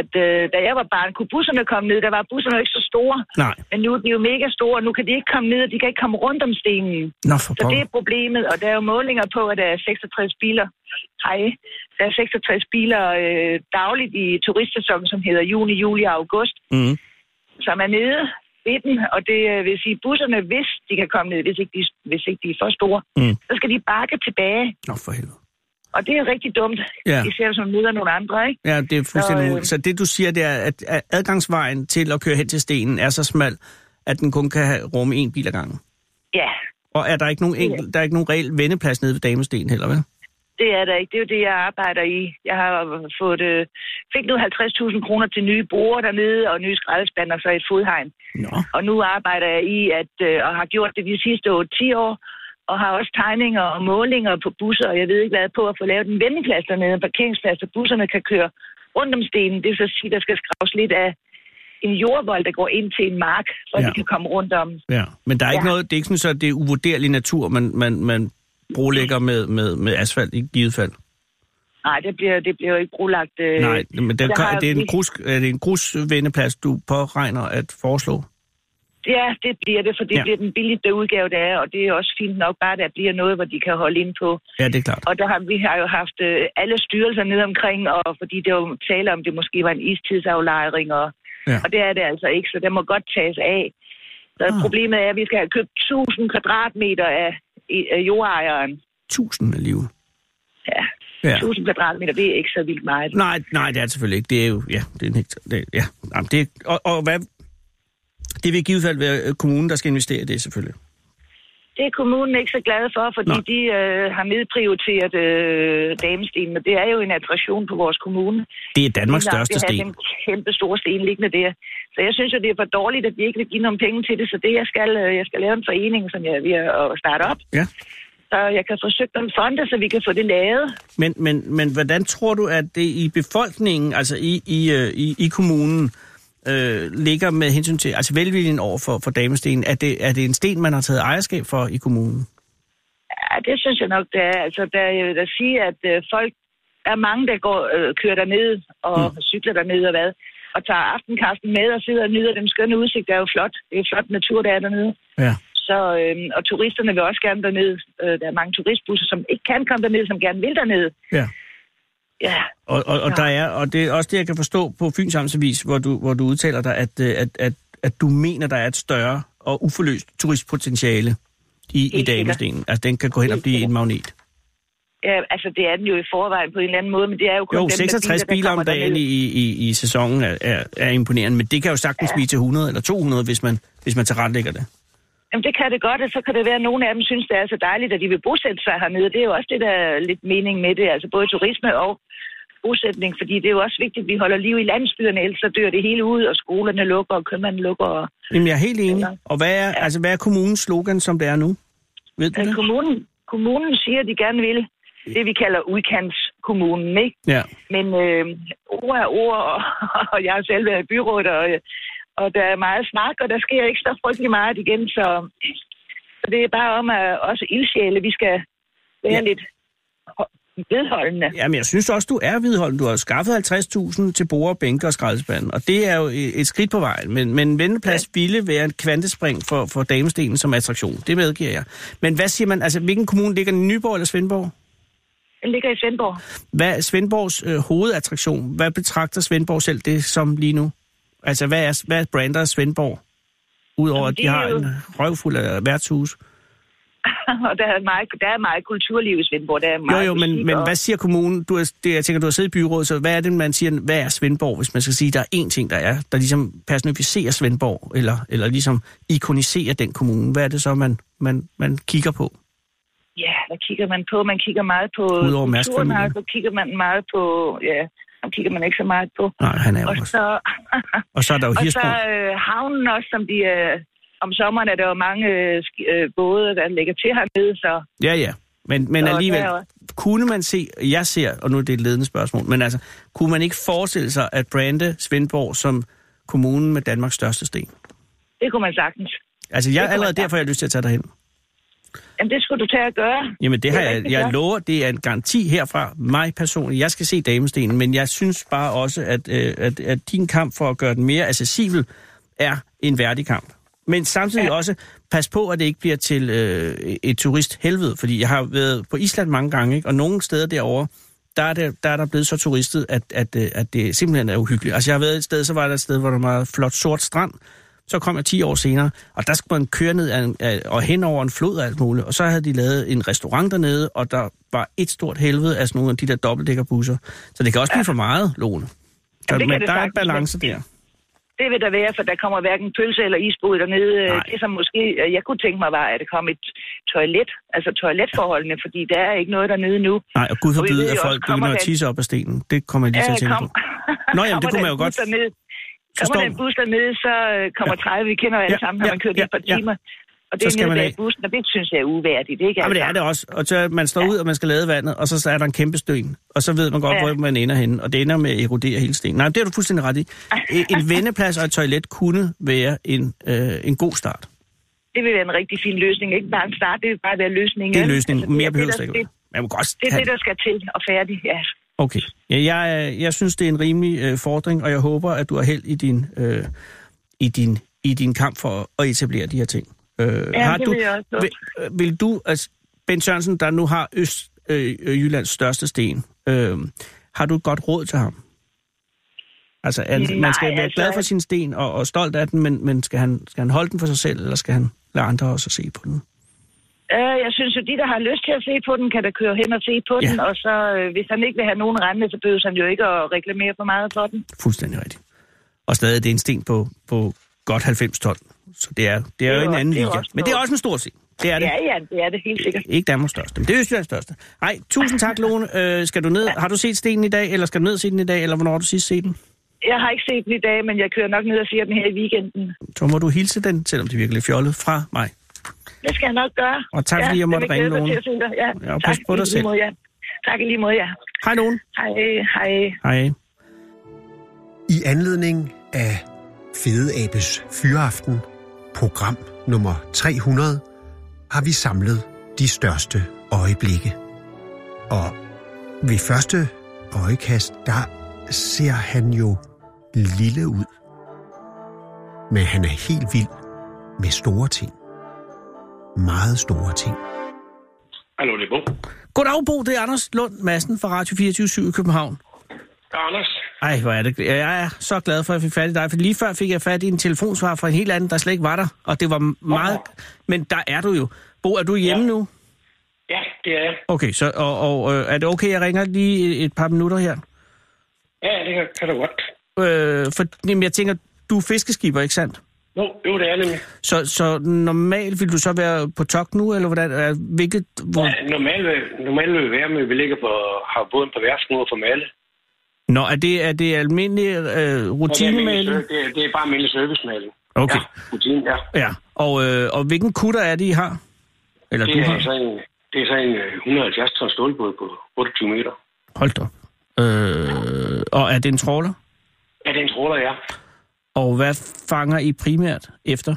at øh, da jeg var barn, kunne busserne komme ned. Der var busserne jo ikke så store, Nej. men nu er de jo mega store, og nu kan de ikke komme ned, og de kan ikke komme rundt om stenen. Nå, for Så det pokker. er problemet, og der er jo målinger på, at der er 66 biler. Hej. Der er 66 biler øh, dagligt i turistsæsonen, som hedder juni, juli og august, Mm. som er nede ved den, og det øh, vil sige, busserne, hvis de kan komme ned, hvis ikke de, hvis ikke de er for store, Mm. mm. så skal de bakke tilbage. Nå, for helvede. Og det er rigtig dumt, Ja. ja. især som møder nogle andre, ikke? Ja, det er fuldstændig Så, øh, umuligt. Så det, du siger, det er, at at adgangsvejen til at køre hen til stenen er så smal, at den kun kan have- rumme en bil ad gangen. Ja, Og er der ikke nogen, enkel, der er ikke nogen reel vendeplads nede ved Damestenen heller, vel? det er der ikke. Det er jo det, jeg arbejder i. Jeg har fået, øh, fik nu 50.000 kroner til nye borer dernede, og nye skraldespand, og så et fodhegn. Nå. Og nu arbejder jeg i, at, øh, og har gjort det de sidste 10 år, og har også tegninger og målinger på busser, og jeg ved ikke hvad, på at få lavet en vendeplads dernede, en parkeringsplads, så busserne kan køre rundt om stenen. Det vil så sige, der skal skraves lidt af en jordvold, der går ind til en mark, for ja. Ja. de kan komme rundt om. Ja. Men der er ikke Ja. noget, det er ikke sådan, så det er uvurderlig natur, man, man, man brolægger med, med, med asfalt i givet fald. Nej, det bliver, det bliver jo ikke brolagt. Øh, Nej, men det, der kan, har det er en vi- grus, er det en grusvendeplads, du påregner at foreslå? Ja, det bliver det, for det Ja. ja. bliver den billigste udgave, der er, og det er også fint nok bare, der bliver noget, hvor de kan holde ind på. Ja, det er klart. Og der har, vi har jo haft øh, alle styrelser ned omkring, og fordi det jo tale om, det måske var en istidsaflejring, og, Ja. ja. og det er det altså ikke, så det må godt tages af. Så Ah. ah. problemet er, at vi skal have købt 1000 kvadratmeter af, i- af jordejeren. Tusind alligevel. Ja. Ja. 1000 kvadratmeter, det er ikke så vildt meget. Nej, nej, det er det selvfølgelig ikke. Det er jo, ja, det er en hektar. Det, ja, jamen, det, og, og hvad, det vil i givet fald være øh, kommunen, der skal investere i det, selvfølgelig. Det er kommunen ikke så glad for, fordi Nå. Nå. de øh, har nedprioriteret øh, damestenen, og det er jo en attraktion på vores kommune. Det er Danmarks Lige nok, største det er sten. Den kæmpe store sten liggende der. Så jeg synes jo, det er for dårligt, at de ikke vil give nogen penge til det, så det jeg skal, øh, jeg skal lave en forening, som jeg er ved at starte op. Ja. Så jeg kan forsøge nogle fonde, så vi kan få det lavet. Men, men, men hvordan tror du, at det i befolkningen, altså i, i, øh, i, i kommunen, øh, ligger med hensyn til, altså velviljen over for, for damestenen? Er det, er det en sten, man har taget ejerskab for i kommunen? Ja, det synes jeg nok, det er. Altså, der, jeg vil da sige, at øh, folk, der er mange, der går, øh, kører derned og mm. cykler derned og hvad, og tager aftenkasten med og sidder og nyder den skønne udsigt. Det er jo flot. Det er flot natur, der er dernede. Ja. Så, øh, og turisterne vil også gerne derned. Øh, der er mange turistbusser, som ikke kan komme derned, som gerne vil derned. Ja. Ja, Og, og, og, Ja. der er, og det er også det, jeg kan forstå på Fyns Amtsavis, hvor du, hvor du udtaler dig, at, øh, at, at, at du mener, der er et større og uforløst turistpotentiale i, i Helt sikkert. damestenen. Altså, den kan gå hen og Helt blive en sikkert. magnet. ja, altså det er den jo i forvejen på en eller anden måde, men det er jo kun Jo, dem, der 66 der biler om kommer dagen derned. i, i, i sæsonen er, er, er imponerende, men det kan jo sagtens blive til 100 eller 200, hvis man, hvis man tilrettelægger det. Jamen det kan det godt, og så kan det være, at nogle af dem synes, det er så dejligt, at de vil bosætte sig hernede. Det er jo også det, der er lidt mening med det, altså både turisme og bosætning, fordi det er jo også vigtigt, at vi holder liv i landsbyerne, ellers så dør det hele ud, og skolerne lukker, og købmanden lukker. Og, Jamen, jeg er helt enig. Eller- Og hvad er, altså, hvad er kommunens slogan, som det er nu? Ved du øh, det? kommunen, kommunen siger, at de gerne vil det, vi kalder udkantskommunen, ikke? Ja. Men øh, ord er ord, og, *laughs* og jeg har selv været i byrådet, og, og der er meget snak, og der sker ikke så frygtelig meget igen, så, så det er bare om, at også ildsjæle, vi skal være Ja. ja. lidt ho- vedholdende. Jamen, jeg synes også, du er vedholden. Du har skaffet 50.000 til borer, bænke og skraldespanden, og det er jo et skridt på vejen. Men, men vendeplads ja. ville være en kvantespring for, for damestenen som attraktion. Det medgiver jeg. Men hvad siger man? Altså, hvilken kommune ligger den? Nyborg eller Svendborg? Den ligger i Svendborg. *laughs* Hvad er Svendborgs øh, hovedattraktion? Hvad betragter Svendborg selv det som lige nu? Altså, hvad er, hvad brander Svendborg? Udover at Jamen, de har det er jo- en røvfuld af værtshus. og der er, meget, der er meget kulturliv i Svendborg. Der er Jo, meget jo, men, musik men og- hvad siger kommunen? Du er, det, jeg tænker, du har siddet i byrådet, så hvad er det, man siger, hvad er Svendborg, hvis man skal sige, der er én ting, der er, der ligesom personificerer Svendborg, eller, eller ligesom ikoniserer den kommune? Hvad er det så, man, man, man kigger på? Ja, hvad kigger man på? Man kigger meget på Udover Mærskfamilien. og så kigger man meget på... Ja, ham kigger man ikke så meget på. Nej, han er jo Og også. så, Og så er der jo og så Hirsborg. øh, havnen også, som de... Øh, om sommeren er der jo mange øh, ski- øh, både, der ligger til hernede, så... Ja, ja. Men, men Nå, alligevel, der er også- kunne man se, jeg ser, og nu er det et ledende spørgsmål, men altså, kunne man ikke forestille sig at brande Svendborg som kommunen med Danmarks største sten? Det kunne man sagtens. Altså, jeg, man allerede sagtens. derfor, jeg har lyst til at tage dig hen. Jamen, det skulle du tage at gøre. Jamen, det, Det er har jeg, rigtig jeg godt. lover, det er en garanti herfra, mig personligt. Jeg skal se damestenen, men jeg synes bare også, at, øh, at, at din kamp for at gøre den mere accessibel er en værdig kamp. Men samtidig ja. også, pas på, at det ikke bliver til øh, et turisthelvede, fordi jeg har været på Island mange gange, ikke? og nogle steder derovre, der er, det, der er der blevet så turistet, at, at, øh, at det simpelthen er uhyggeligt. Altså, jeg har været et sted, så var der et sted, hvor der var meget flot sort strand, så kom jeg 10 år senere, og der skulle man køre ned ad, en- ad, og hen over en flod og alt muligt. Og så havde de lavet en restaurant dernede, og der var et stort helvede af sådan nogle af de der dobbeltdækkerbusser. Så det kan også blive for meget, Lone. Så, Jamen, det kan men det der er en sagtens, balance der. Det vil der være, for der kommer hverken pølse eller isbod dernede. Nej. Nej. Det, som måske øh, jeg kunne tænke mig, var, at der kom et toilet, altså toiletforholdene, fordi der er ikke noget dernede nu. Nej, og gud Og vi ved forbyde, jo at også, folk kommer begynder at den- tisse op af stenen. Det kommer jeg lige til at tænke kom, på. Nå, *laughs* jamen, det kommer kunne man den jo godt bus derned, forstå. Kommer den bus dernede, så øh, kommer 30, vi kender jo alle Ja, sammen, når ja, man kører ja, ja, et par ja. timer. Og det Så er skal nede man bag af. bussen, og det synes jeg er uværdigt, ikke? Ja, men det er det også. Og så man står ud, og man skal lade vandet, og så, så er der en kæmpe sten. Og så ved man godt, Ja. hvor man ender henne. Og det ender med at erodere hele stenen. Nej, men det har du fuldstændig *laughs* ret i. E- En vendeplads og et toilet kunne være en, øh, en god start. Det vil være en rigtig fin løsning. Ikke bare en start, det vil bare være løsningen. Det er ikke? løsningen. altså, det Mere er behøver det, det ikke. der- være. Man må godt Det er have- det, der skal til og færdig, ja. Okay. Ja, jeg, øh, jeg synes, det er en rimelig øh, fordring, og jeg håber, at du er held i din, øh, i din, i din kamp for at etablere de her ting. Øh, Ja, det du, vil jeg også vil, øh, vil du, altså, Ben Sørensen, der nu har Øst, øh, øh, Jyllands største sten, øh, har du et godt råd til ham? Altså, er, Nej, man skal være altså- glad for sin sten og, og stolt af den, men, men skal, han, skal han holde den for sig selv, eller skal han lade andre også se på den? Øh, jeg synes jo, de, der har lyst til at se på den, kan da køre hen og se på Ja. den. Og så, øh, hvis han ikke vil have nogen rende, så behøver han jo ikke at reklamere for meget for den. Fuldstændig rigtigt. Og stadig, det er en sten på, på godt 90 ton. Så det er, det er jo Det er en jo- anden det er jo liga. også Men det er noget. også en stor sten. Det er det. Ja, ja, det er det helt sikkert. Ikke Danmarks største, men det er Østjyllands største. Ej, tusind tak, Lone. Øh, skal du ned? Har du set stenen i dag, eller skal du ned og se den i dag, eller hvornår har du sidst set den? Jeg har ikke set den i dag, men jeg kører nok ned og ser den her i weekenden. Så må du hilse den, selvom det virkelig fjollet, fra mig. Det skal jeg nok gøre. Og tak, fordi jeg måtte det vil ringe, glæde mig Lone. til at se dig. Ja, Ja, og tak, pas på dig i lige selv. måde, ja. Tak i lige måde, ja. Hej, Lone. Hej, hej. Hej. I anledning af Fede Abes Fyraften, program nummer 300, har vi samlet de største øjeblikke. Og ved første øjekast, der ser han jo lille ud. Men han er helt vild med store ting. Meget store ting. Hallo, det er Bo. Goddag, Bo. Det er Anders Lund Madsen fra Radio 24 i København. Anders. Ej, hvor er det. Jeg er så glad for, at jeg fik fat i dig, for lige før fik jeg fat i en telefonsvar fra en helt anden, der slet ikke var der, og det var meget... Men der er du jo. Bo, er du hjemme Ja. nu? Ja, det er jeg. Okay, så, og, og øh, er det okay, jeg ringer lige et, et par minutter her? Ja, det kan- kan du godt. Øh, for jamen, jeg tænker, du er fiskeskiber, ikke sandt? Jo, jo, det er nemlig. Så, så normalt vil du så være på togt nu, eller hvordan? Er, hvilket, hvor... Ja, normalt, vil- normalt vil vi være, men vi ligger på, har båden på værsten ude for Malle. Nå, er det, er det almindelig øh, Og det er almindelig rutinemæling? serv- Det, er- det er bare almindelig servicemaling. Okay. Ja, rutine, ja. Ja, og, øh, og hvilken kutter er det, I har? Eller Det du er, så har? en, det er så en øh, 170 tons stålbåd på 28 meter. Hold da. op. Øh, og er det en trawler? Ja, det er en tråler, ja. Og hvad fanger I primært efter?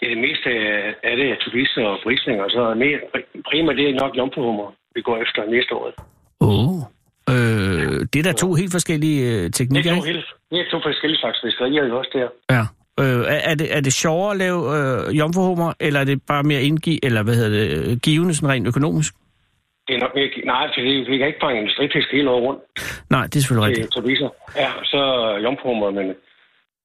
Det, er det meste af- af det er turister og brisninger, og så næ- primært det er nok jomfruhummer, vi går efter næste år. Åh. Oh. Øh, det er da to helt forskellige øh, Det teknikker, er, to ikke? helt, det er to forskellige slags fiskerier jo også der. Ja. Øh, er, er, det, er det sjovere at lave øh, jomfruhummer, eller er det bare mere indgiv, eller hvad hedder det, øh, givende sådan rent økonomisk? Det er nok mere, nej, for det- vi kan ikke fange industrifisk hele året rundt. Nej, det er selvfølgelig Det er rigtigt. turister. Ja, så jomfruhummer, men,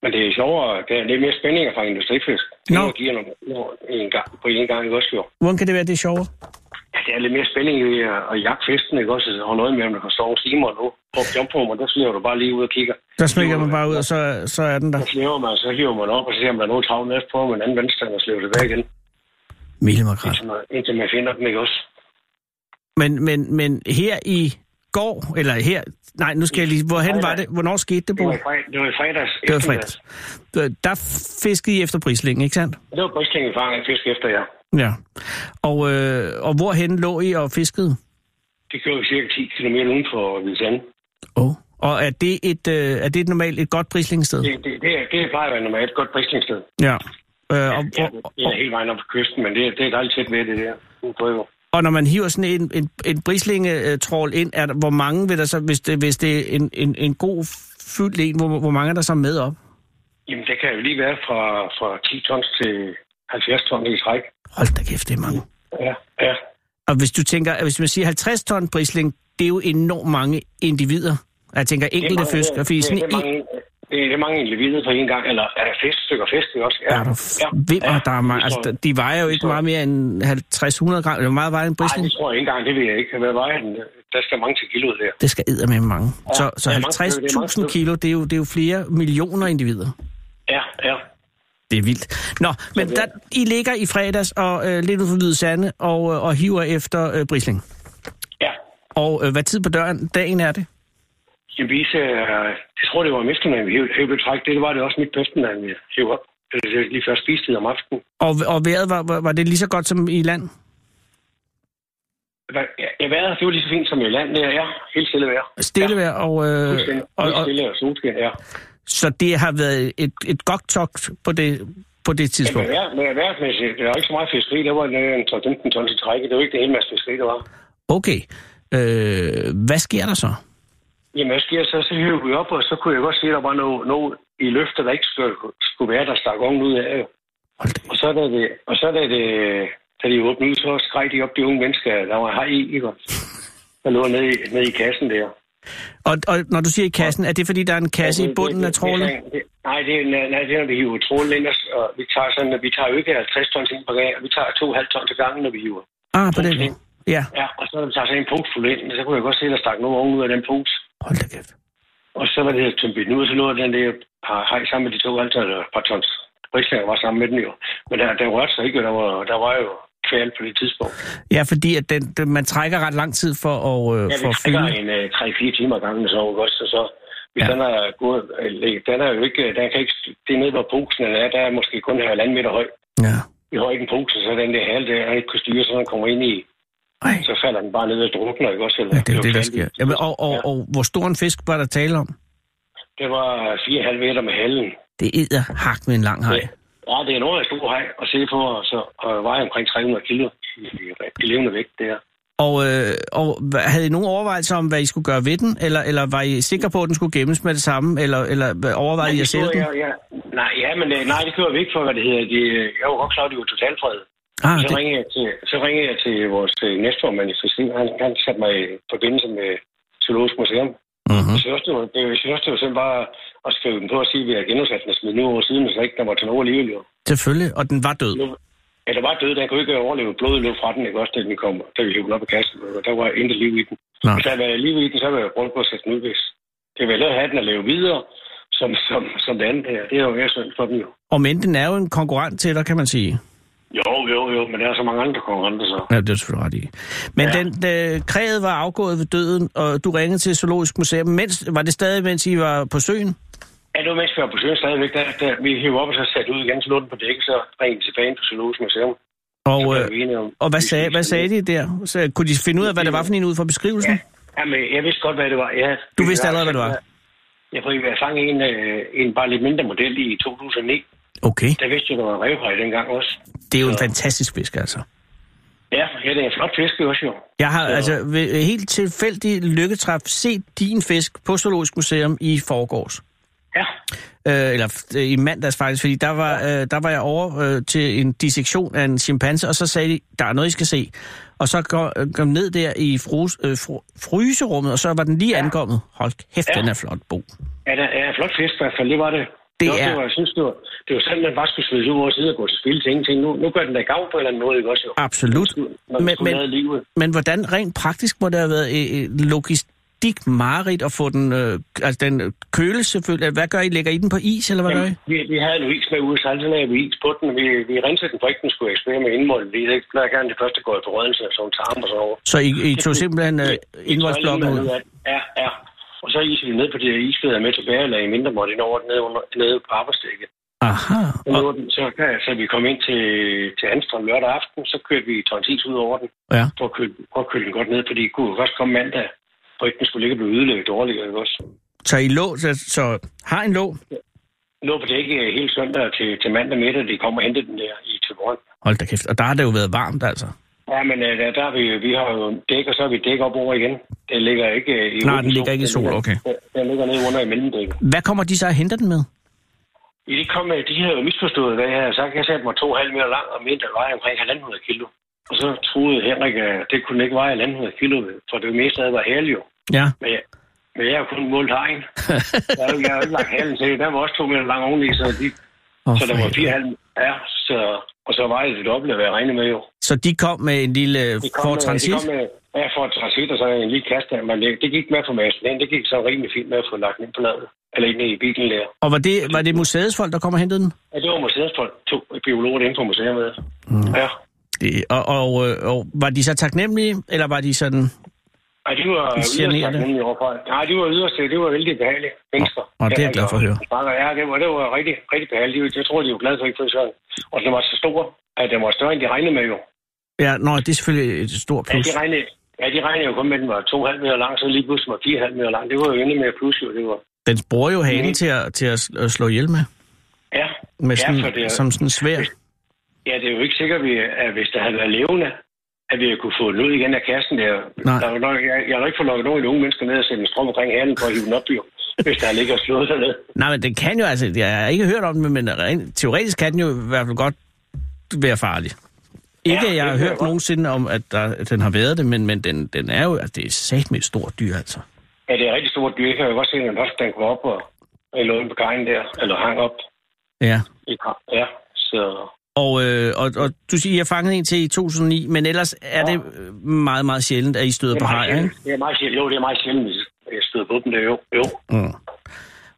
men det er sjovere. Det er lidt mere spænding at fange industrifisk. Nå. Det giver noget en gang, på en gang, ikke også jo. Hvordan kan det være, det er sjovere? Ja, det er lidt mere spænding i at- at jagte festen, ikke også? Og holde øje med, om der kan sove timer nu. På jomfruhummer, der slæver du bare lige ud og kigger. Der smækker man bare ud, og så, så er den der. Så slæver man, så hiver man op, og så ser man, der er nogen travlt næst på, med en anden vandstand og slæver tilbage igen. Mille makrel. Indtil man, indtil man finder den, ikke også? Men, men, men her i går, eller her, nej, nu skal jeg lige, hvorhen var det, hvornår skete det, Det Bo? var i fredag- det var i fredags. Det var i fredags. Øh, Der fiskede I efter brislingen, ikke sandt? Det var bristingen fanget fisk efter, ja. Ja. Og, øh, og hvorhen lå I og fiskede? Det kører vi cirka 10 km uden for Hvide Sande. Oh. Og er det et, øh, er det et normalt et godt brislingsted? Det, det, det, er- det plejer at være normalt et godt brislingssted. Ja. Øh, og, Ja, og, det og, er hele vejen op på kysten, men det, er- det er dejligt tæt ved det der. Nu prøver. og når man hiver sådan en, en, en brislingetrål ind, er der, hvor mange vil der så, hvis det, hvis det er en, en, en god fyldt en, hvor, hvor mange er der så med op? Jamen, det kan jo lige være fra, fra 10 tons til 70 tons i træk. Hold da kæft, det er mange. Ja, ja. Og hvis du tænker, at hvis man siger 50 ton brisling, det er jo enormt mange individer. Jeg tænker enkelte fisk, og fordi det, er- sådan det, er en... mange, det, er- det er mange individer på en gang, eller er der fisk, stykker fisk det også? Er du vimmer, der er mange. Altså, de vejer jo ikke meget mere end 50-100 gram. Eller hvor meget vejer en Nej, brisling? det tror jeg ikke engang, det vil jeg ikke. Hvad vejer den? Der skal mange til kiloet der. Det skal æde med mange. Så, så det er mange stykker, det er mange 50.000 kilo, det er, jo, det er jo flere millioner individer. Ja, ja. Det er vildt. Nå, men der, I ligger i fredags og øh, lidt ud for Hvide Sande og, øh, og hiver efter øh, brisling. Ja. Og øh, hvad tid på døren, dagen er det? Jamen, vi ser, jeg tror, det var om eftermiddagen, vi hævde, hævde træk. Det var det også midt på eftermiddagen, vi hævde op. Det er lige før spistid om aftenen. Og, og vejret, var, var, var det lige så godt som i land? Hvad- Ja, ja, vejret, det var lige så fint som i land, det er ja. helt stille vejr. Altså, Stille vejr, og, øh, Fuldstændig og, helt og, stille og solskin, ja. så det har været et, et godt togt på det, på det Ja, Men tidspunkt. vejr- men vejrmæssigt, det var ikke så meget fiskeri, der var en, øh, en 12-15 tons i trækket. Det var ikke det hele masse fiskeri, der var. Okay. Øh, hvad sker der så? Jamen, hvad sker så? Så hører vi op, og så kunne jeg godt se, at der var noget, noget i løfter, der ikke skulle, skulle være, der stak ungen ud af. jo. Hold da. Og så da det, og så da det, da de åbnede ud, så skreg de op de unge mennesker, der var her i, ikke? også? Der lå nede i, nede i kassen der. Og, og når du siger i kassen, er det fordi, der er en kasse i bunden af trålen? Det- det- Nej, det er, nej, det er, når vi hiver trålen ind, og s- og vi tager, sådan, at vi tager jo ikke 50 tons ind på gang, vi tager 2,5 ton til gangen, når vi hiver. Ah, på den måde. Ja, Ja, og så når vi tager sådan en punkt fuld ind, så kunne jeg godt se, at der stak nogen oven ud af den pose. hold da kæft. Og så var det her tømt den ud, så lå den der par hej sammen med de to halvtons, eller par tons. Rigslæger var sammen med den jo. Men der, der rørte sig ikke, og der var, der var jo kvæl på det tidspunkt. Ja, fordi at den, den, man trækker ret lang tid for at, øh, Ja, for vi at trækker fylde. en øh, 3-4 timer ad gangen, så også, så, så hvis Ja. ja. den er gået, øh, den er jo ikke, den kan ikke, det er nede, hvor posen er, der er måske kun halvanden meter høj. Ja. I højden pose, så den der hale, der han ikke kunne styre, så den kommer ind i, Ej, så falder den bare ned og drukner, ikke også? Eller, ja, det er jo det, der sker. fandme- Jamen, og, og, Ja. og hvor stor en fisk var der tale om? Det var 4,5 meter med halen. Det æder hak med en lang hej. Ja. Ja, det er noget af stor hej at se på, og så og veje omkring 300 kilo i, i levende vægt der. Og, øh, og hva- havde I nogen overvejelser om, hvad I skulle gøre ved den? Eller, eller var I sikre på, at den skulle gemmes med det samme? Eller, eller hva- overvejede I at sælge den? jeg, ja. Nej, ja, men øh, nej, det kører vi ikke for, hvad det hedder. Det, øh, jeg var godt klar, at de var totalfredet. Ah, så, det, ringede jeg til, så ringede jeg til vores øh, næstformand i Frisin. Han, han satte mig i forbindelse med Zoologisk Museum. Mhm. Mm-hmm. Jeg synes, det var, det, jeg synes, det var simpelthen bare at skrive den på og sige, at vi har genudsat den og smidt nu over siden, så ikke der var til nogen alligevel. Jo. selvfølgelig. Og den var død. Nu, ja, der var død, der kunne ikke overleve blodet løb fra den, ikke også, da den kom, da vi hævde den op i kassen. og Der var intet liv i den. Nej. Hvis der havde været liv i den, så havde jeg brugt på at sætte den ud, hvis det var lavet at have den og leve videre, som, som, som det andet her. Det er jo mere synd for dem jo. Og men den er jo en konkurrent til dig, kan man sige. Jo, jo, jo, men der er så mange andre konkurrenter, så. Ja, det er du selvfølgelig ret i. Men ja. den, øh, kræet var afgået ved døden, og du ringede til Zoologisk Museum. Mens, var det stadig, mens I var på søen? Ja, det var mens vi var på søen stadigvæk, der, der vi hiver op og så satte ud igen, så lå den på dækket, så ringede tilbage ind på Zoologisk Museum. Så Og, blev øh, vi enige om- og hvad, sagde, hvad sagde de der? Så, kunne de finde ud af, hvad det var for en ud fra beskrivelsen? Jamen, jeg vidste godt, hvad det var. Ja, Du vidste allerede, hvad det var? Jeg prøvede at fange en, øh, en bare lidt mindre model i 2009. Okay. Der vidste jeg, der var revhøj dengang også. Det er jo en fantastisk fisk, altså. Ja, ja, det er en flot fisk også jo. Jeg har Så- altså ved øh, helt tilfældig lykketræf set din fisk på Zoologisk Museum i forgårs. Ja, Øh, eller f- øh, i mandags faktisk, fordi der var, øh, der var jeg over øh, til en dissektion af en chimpanse, og så sagde de, der er noget, I skal se. Og så går- øh, kom ned der i frus, øh, fro, fryserummet, og så var den lige ankommet. Hold kæft, Ja. den er flot, Bo. ja det er en flot fisk i hvert fald, det var det. Det var, er- Det var, jeg synes, det var, det var sådan, man bare skulle smide ud over siden og gå til spil til ingenting. Nu, nu gør den da gav på en eller anden måde, ikke også jo? Absolut. Når vi Men, skulle lade men, livet. men hvordan rent praktisk må det have været øh, øh, logistik mareridt at få den, øh, altså den øh, køle selvfølgelig. Hvad gør I? Lægger I den på is, eller hvad gør I? Jamen, vi, vi havde en is med ude, så altid lagde vi is på den. Vi, vi rensede den for ikke, den skulle eksperimentere med indmålet. Vi ikke plejer gerne det første går i forrødelse, og så en tarm og sådan noget. Så I, I tog simpelthen øh, indvoldsblokken Ja, ud? Ja, ja. Og så iser vi ned på de her isfæder med tilbage og lagde mindre måtte ind over nede, under, nede på arbejdsdækket. Aha. Så, nåede den- så, ja, så vi kom ind til, til Anstrøm lørdag aften, så kørte vi tonsils ud over den, Ja. for at køle, for at køle den godt ned, fordi det kunne jo først komme mandag, og ikke den skulle ligge og blive ødelagt dårligt, ikke også? Så I lå, så, så har en lå? Lå på det ikke hele søndag til, til mandag middag, de kom og hentede den der i Tøborg. Hold da kæft, og der har det jo været varmt, altså. Ja, men øh, der, der er vi, vi har jo dæk, og så har vi dæk op over igen. Den ligger ikke øh, i Nej, åben den ligger ikke i sol, okay. Den, den ligger nede under i mellemdækket. Hvad kommer de så og henter den med? I det kom, øh, de havde jo misforstået, hvad jeg havde sagt. Jeg satte mig to halv meter lang og mente, at veje omkring 1.500 kilo. Og så troede Henrik, at det kunne ikke veje 1.500 kilo, for det meste af det var hæl jo. Ja, Men jeg, men jeg har jo kun målt hegn. jeg, har jo- jeg har jo ikke lagt halen til. Der var også to meter lang oveni, så, de, oh, så der var fire halv. Ja, så, og så vejede det dobbelte, hvad jeg regnede med jo. så de kom med en lille Det Ford med- Transit? Det kom med, ja, for transit, og så en lille kasse der. Men det, det gik med på massen ind. Det gik så rimelig fint med at få lagt den ind på ladet. Eller ind i bilen der. Og var det, var det museets folk, der kom og hentede den? Ja, det var museets folk. To biologer inde på museet med. Mm. Ja. Det, og, og, øh, og, var de så taknemmelige, eller var de sådan... Ej, de var De generer yderst det. taknemmelige overfor. Nej, de var yderst. Det var vældig behagelige mennesker. Nå, det er jeg glad for at høre. Ja, det var, det var rigtig, rigtig behageligt. Jeg tror, de var glade for, at ikke sådan. Og den var så stor, at den var større, end de regnede med jo. Ja, nå, det er selvfølgelig et stort Ja, plus. de regnede, ja, de regnede jo kun med, at den var 2,5 meter lang, så lige pludselig var 4,5 meter lang. Det var jo endnu mere pludselig, det var. Den bruger jo hanen Mhm. til at, til at sl- at slå ihjel med, Ja, med ja, sådan, for det er- som sådan svær. Ja, det er jo ikke sikkert, vi- at hvis der havde været levende, at vi kunne få den ud igen af kassen der. Nej. der er jo nok, jeg, jeg har jo ikke fået lukket nogen unge mennesker ned og sætte en strøm omkring halen for at hive den op, jo, hvis der ligger og slået dernede. Nej, men den kan jo altså... Jeg har ikke hørt om den, men rent, teoretisk kan den jo i hvert fald godt være farlig. Ikke, Ja, at jeg har det kan jeg hørt godt. nogensinde om, at, der, at den har været det, men, men den, den er jo... Altså, det er satme et stort dyr, altså. Ja, det er et rigtig stort dyr. Jeg kan jo godt se, at den først den kom op og, og lå inde på kajen der, eller hang op. Ja. I, ka- ja, så... Og, øh, og, og du siger, I har fanget en til i 2009, men ellers er det øh, meget, meget sjældent, at I støder på meget hajer, ikke? sjældent. det er meget sjældent. Jo, det er meget sjældent, at jeg støder på dem der, jo. jo. Mm.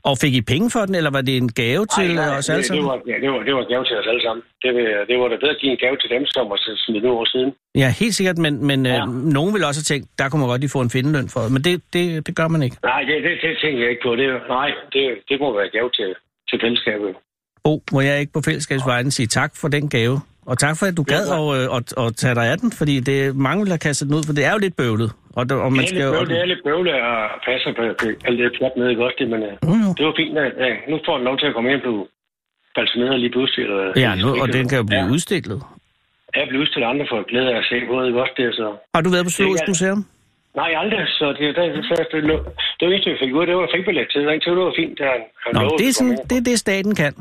Og fik I penge for den, eller var det en gave til Ej, Ej, nej, os det, alle det, sammen? var, ja, det, var, det var en gave til os alle sammen. Det, vil- det var da bedre at give en gave til dem, som at smide ud over siden. Ja, helt sikkert, men, men ja. Ja. øh, nogen vil også have tænkt, der kunne man godt lige få en findeløn for det, men det, det, det gør man ikke. Nej, det, det, det tænker jeg ikke på. Det, nej, det, det må være gave til, til fællesskabet. Bo, må jeg ikke på fællesskabsvejen sige tak for den gave? Og tak for, at du gad at, øh, at, at tage dig af den, fordi det, mange vil have kastet den ud, for det er jo lidt bøvlet Og, der, og man skal, det, er og, lidt bøvle, det er lidt bøvle at passe på det- alt det pjat med, ikke også? Det, men øh, Jo, jo. det var fint, at øh, nu får han lov til at komme hjem og blive balsameret lige pludselig. Eller, ja, nu, og den kan jo blive ja, udstillet. Jeg bliver udstillet andre folk glæde af at se både, ikke også? Det, er så. Har du været på Zoologisk Ja. Museum? Nej, aldrig. Så det, det, det, det, det, det, det eneste, vi fik ud, af, det var fribillet til. Den det var fint, da han, han Nå, lovede, det er, at komme sådan, hjem. det, er det staten kan.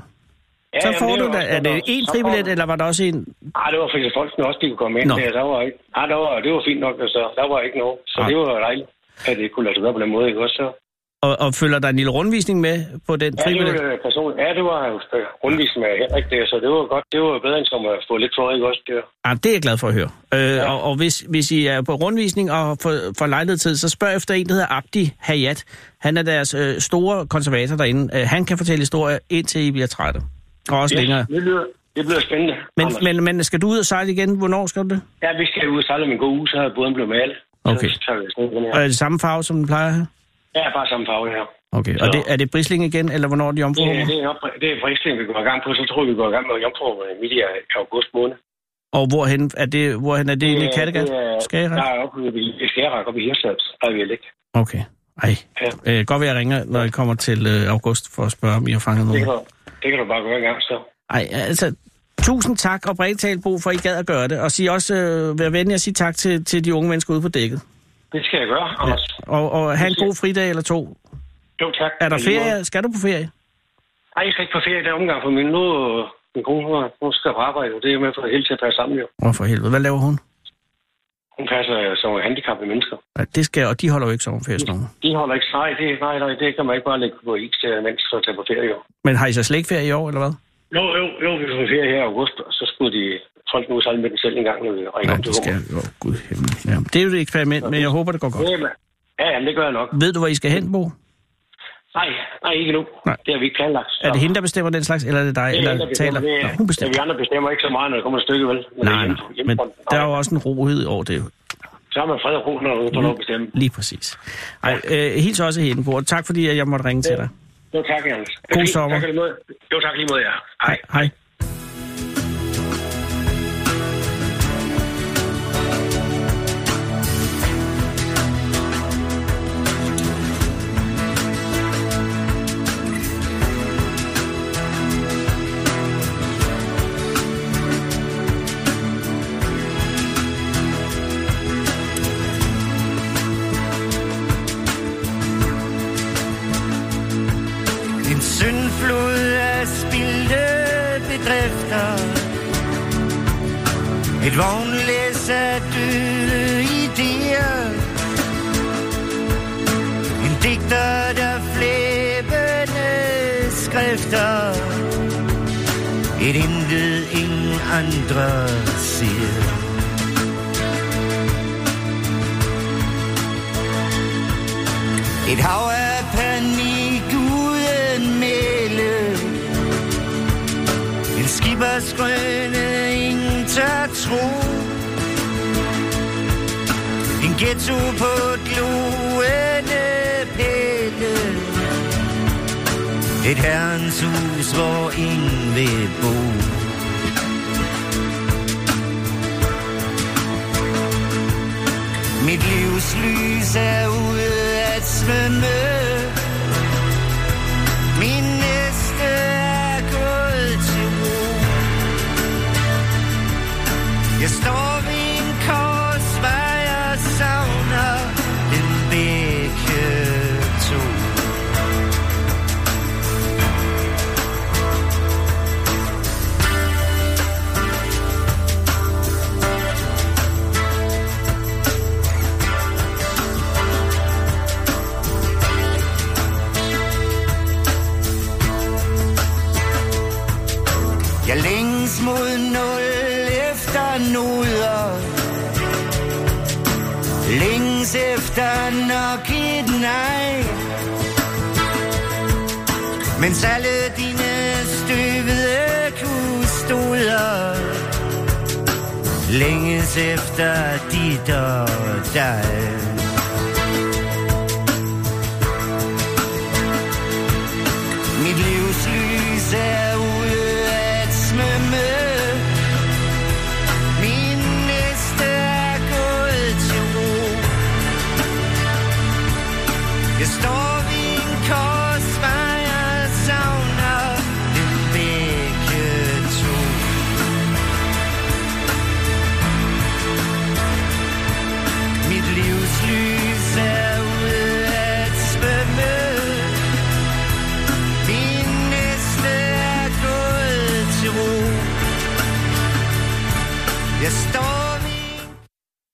Ja, Så jamen, får du var da, også er godt det nok. en Så får fribillet, du- eller var der også en... Nej, det var fordi folkene også, de kunne komme ind. Nå. Nå. Der var ikke, nej, der var, det var fint nok, altså. Der var ikke noget. Så Nej. det var dejligt, at det kunne lade sig gøre på den måde, ikke også? Så, Og, og følger der en lille rundvisning med på den ja, det fribillet? var øh, person, ja, det var jo øh, rundvisning med Henrik der, så det var godt. Det var bedre end som at få lidt tøj, ikke også? Der. Ja, det er jeg glad for at høre. Øh, ja. Og, og hvis, hvis I er på rundvisning og får, får lejlighed til, så spørg efter en, der hedder Abdi Hayat. Han er deres øh, store konservator derinde. Øh, han kan fortælle historier, indtil I bliver trætte. Og også yes. længere. det, lyder, det bliver spændende. Men, Anders. men, men skal du ud og sejle igen? Hvornår skal du det? Ja, vi skal ud og sejle om en god uge, så har båden blevet malet. Okay. Så tager vi sådan den her. Og er det samme farve, som den plejer at have? Ja, bare samme farve her. Okay, og Så- det, er det Brisling igen, eller hvornår er de Det, omformer? er- det, er, op, det er Brisling, vi går i gang på. Så tror jeg, vi går i gang med Jomfru øh, midt i øh, august måned. Og hvorhen er det, hvorhen er det inde i Øh, Kattegat? det er- Skagerrak? Nej, oppe i Skagerrak, oppe i Hirsals. Der er vi ligge. Okay. Ej, øh, godt ved at ringe, når jeg kommer til øh, august, for at spørge, om I har fanget Det kan, nogen. du, det kan du bare gøre en gang, så. Ej, altså, tusind tak og bredt talt, Bo, for at I gad at gøre det. Og sig også, øh, vær venlig at sige tak til, til de unge mennesker ude på dækket. Det skal jeg gøre, Anders. Og, og have en god fridag eller to. Jo, tak. Er der Alligevel. ferie? Skal du på ferie? Nej, jeg skal ikke på ferie i den omgang, for min, nu, øh, min kone hun, hun skal på arbejde, og det er med for hele til at passe sammen, jo. Åh, for helvede. Hvad laver hun? Hun passer øh, som handicappede mennesker. Ja, det skal, og de holder jo ikke sommerferie, sådan nogen. De holder ikke nej, det, nej, nej, det kan man ikke bare lægge på is, øh, mens så tager på ferie, jo. Men har I så slet ikke ferie i år, eller hvad? Jo, jo, jo, vi får ferie her i august, og så skulle de folk nu sejle med den selv en gang, når vi ringer Nej, om det til skal jo. Oh, Gud himmel. Ja, det er jo et eksperiment, men jeg håber, det går godt. Rumænien. Ja, ja, men det gør jeg nok. Ved du, hvor I skal hen, Bo? Nej, nej, ikke nu. Nej. Det har vi ikke planlagt. så- Er det hende, der bestemmer den slags, eller er det dig, Det er eller hende, der taler? bestemmer. Det Nå, er- hun Ja, bestemmer. vi andre bestemmer ikke så meget, når det kommer et stykke, vel? Men det er Nej, nej, hjemmefronten. men Hjemmefronten. der er jo også en rohed over det, jo. Så har man fred og ro, når du får lov at bestemme. lige præcis. Ej, øh, hils også hende, Bo, og tak fordi at jeg måtte ringe til dig. Jo, tak, Jens. God sommer. Tak, alligevel. jo, tak lige mod jer. Hej. Hej. Hej. En syndflod af spildte bedrifter Et vognlæs af døde idéer En digter, der flæbende skrifter Et intet ingen andre siger Et hav af panik uden mæle En skibers grønne ingen tør tro En ghetto på gloende pæle Et herrens hus, hvor ingen vil bo Mit livs lys er ude at svømme Min næste er gået til ro Jeg står ved en korsvej og savner en begge to Jeg længes mod nul efter nuder Længes efter nok et nej Mens alle dine støvede kustoder Længes efter dit og dig